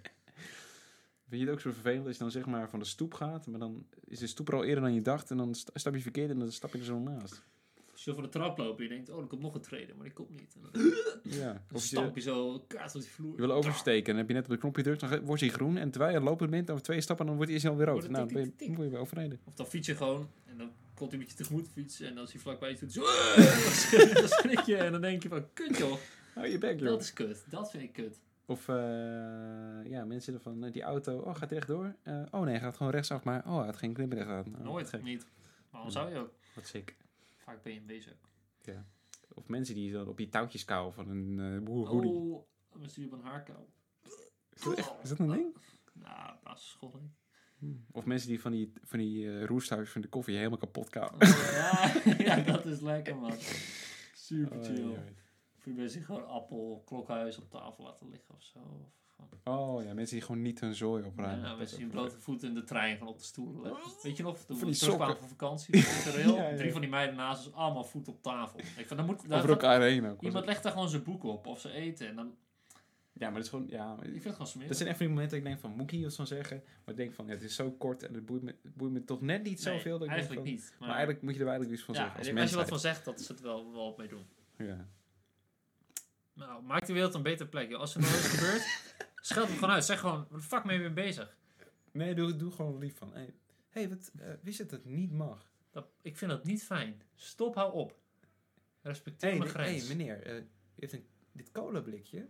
S1: Vind je het ook zo vervelend als je dan zeg maar van de stoep gaat, maar dan is de stoep er al eerder dan je dacht en dan sta- stap je verkeerd en dan stap je er zo naast.
S4: Als je van de trap loopt en je denkt, oh, er komt nog een treden, maar die komt niet. En dan
S1: Ja.
S4: dan
S1: Of je,
S4: stamp je zo kaart op die vloer.
S1: je wil oversteken en heb je net op het knopje gedrukt, dan ge- wordt hij groen en terwijl je lopend bent over twee stappen, dan wordt hij eerst alweer rood.
S4: Wordt het
S1: Nou, dan ben
S4: tik,
S1: je,
S4: tik, tik.
S1: word je weer overreden.
S4: Of dan fiets je gewoon en dan komt hij met je tegemoet fietsen en als hij vlakbij je doet, zo, "Eh!" dan schrik je en dan denk je van, kut joh,
S1: Oh, je bek, joh.
S4: dat is kut, dat vind ik kut.
S1: Of eh, ja, mensen ervan, eh, die auto, oh, gaat rechtdoor. Eh, oh nee, hij gaat gewoon rechtsaf, maar oh, hij had geen klimrecht aan. Oh,
S4: Nooit,
S1: gek.
S4: niet. Waarom zou je ook?
S1: Wat sick.
S4: Vaak ben je een bezig.
S1: Of mensen die dan op die touwtjes kauwen van een eh boer hoodie.
S4: Oh, mijn stuur op een haarkou.
S1: Is dat echt- Is dat
S4: Oh.
S1: een ding?
S4: Nou, basisschool. hè.
S1: Of mensen die van die, van die eh roesthuis van de koffie helemaal kapot kauwen.
S4: Ja, ja, dat is lekker man. Super chill.
S1: Oh,
S4: Of je mensen die gewoon appel, klokhuis op tafel laten liggen of zo. Of gewoon-
S1: Oh ja, mensen die gewoon niet hun zooi opruimen.
S4: Ja,
S1: Dat
S4: mensen
S1: is
S4: die
S1: ook
S4: blote voeten in de trein gaan op de stoelen. leggen. Weet je nog, toen
S1: Van
S4: we
S1: die
S4: terugkwamen
S1: sokken.
S4: van vakantie, op het rail,
S1: Ja, ja.
S4: drie van die meiden naast ons, allemaal voet op tafel. Ik van, dan moet,
S1: vervelend.
S4: daar,
S1: Over elkaar heen ook.
S4: iemand legt daar gewoon zijn boek op of zijn eten. En dan,
S1: Ja, maar dat is gewoon... Ja, maar-
S4: ik vind het gewoon smerig.
S1: dat zijn echt van die momenten dat ik denk van, moet ik hier wat van zeggen? Maar ik denk van, ja, het is zo kort en het boeit me, het boeit me toch net niet
S4: Nee,
S1: zoveel. dat ik denk
S4: eigenlijk
S1: van-
S4: niet. Maar,
S1: Maar eigenlijk moet je er wel eigenlijk iets van
S4: ja,
S1: zeggen.
S4: ik
S1: Als
S4: denk, als je wat
S1: mensheid.
S4: van zegt, dat ze het wel, wel op mee doen.
S1: Ja.
S4: Nou, maak de wereld een betere plek. joh. Als er nog iets gebeurt, scheld hem gewoon uit. Zeg gewoon, wat de fuck ben je mee bezig?
S1: Nee, doe, doe gewoon lief van. Hé, hey, wat, eh, wist je dat het niet mag?
S4: Dat, ik vind dat niet fijn. Stop, hou op. Respecteer
S1: Hé, hey,
S4: mijn grens.
S1: meneer, eh, u heeft een, dit colablikje.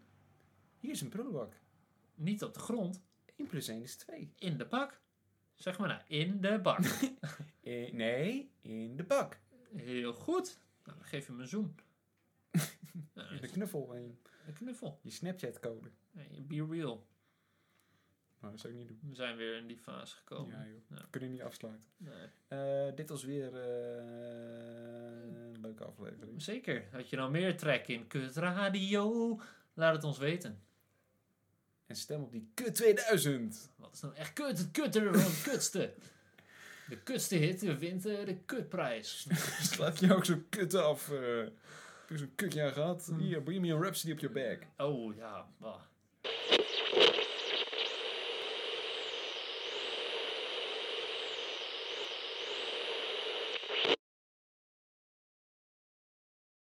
S1: Hier is een prullenbak.
S4: Niet op de grond,
S1: 1 plus 1 is 2.
S4: in de bak. Zeg maar nou, in de bak.
S1: Eh, nee, in de bak.
S4: Heel goed. Nou, dan geef je hem een zoen. Nou,
S1: De knuffel en
S4: een knuffel.
S1: je Snapchat-code.
S4: Hey, Be real.
S1: Maar dat zou ik niet doen.
S4: We zijn weer in die fase gekomen.
S1: Ja, joh.
S4: Oh, Ja.
S1: We kunnen niet afsluiten.
S4: Nee.
S1: Eh, dit was weer eh, een leuke aflevering.
S4: Zeker. Had je nou meer trek in Kut Radio? Laat het ons weten.
S1: En stem op die kut 2000.
S4: Wat is dan echt kut? Het kutter van het kutste. De kutste hit wint eh, de kutprijs.
S1: Slaat je ook zo'n kut af. eh. heb je zo'n kutjaar gehad? Hier, Bohemian Rhapsody op je back.
S4: Oh ja, bah.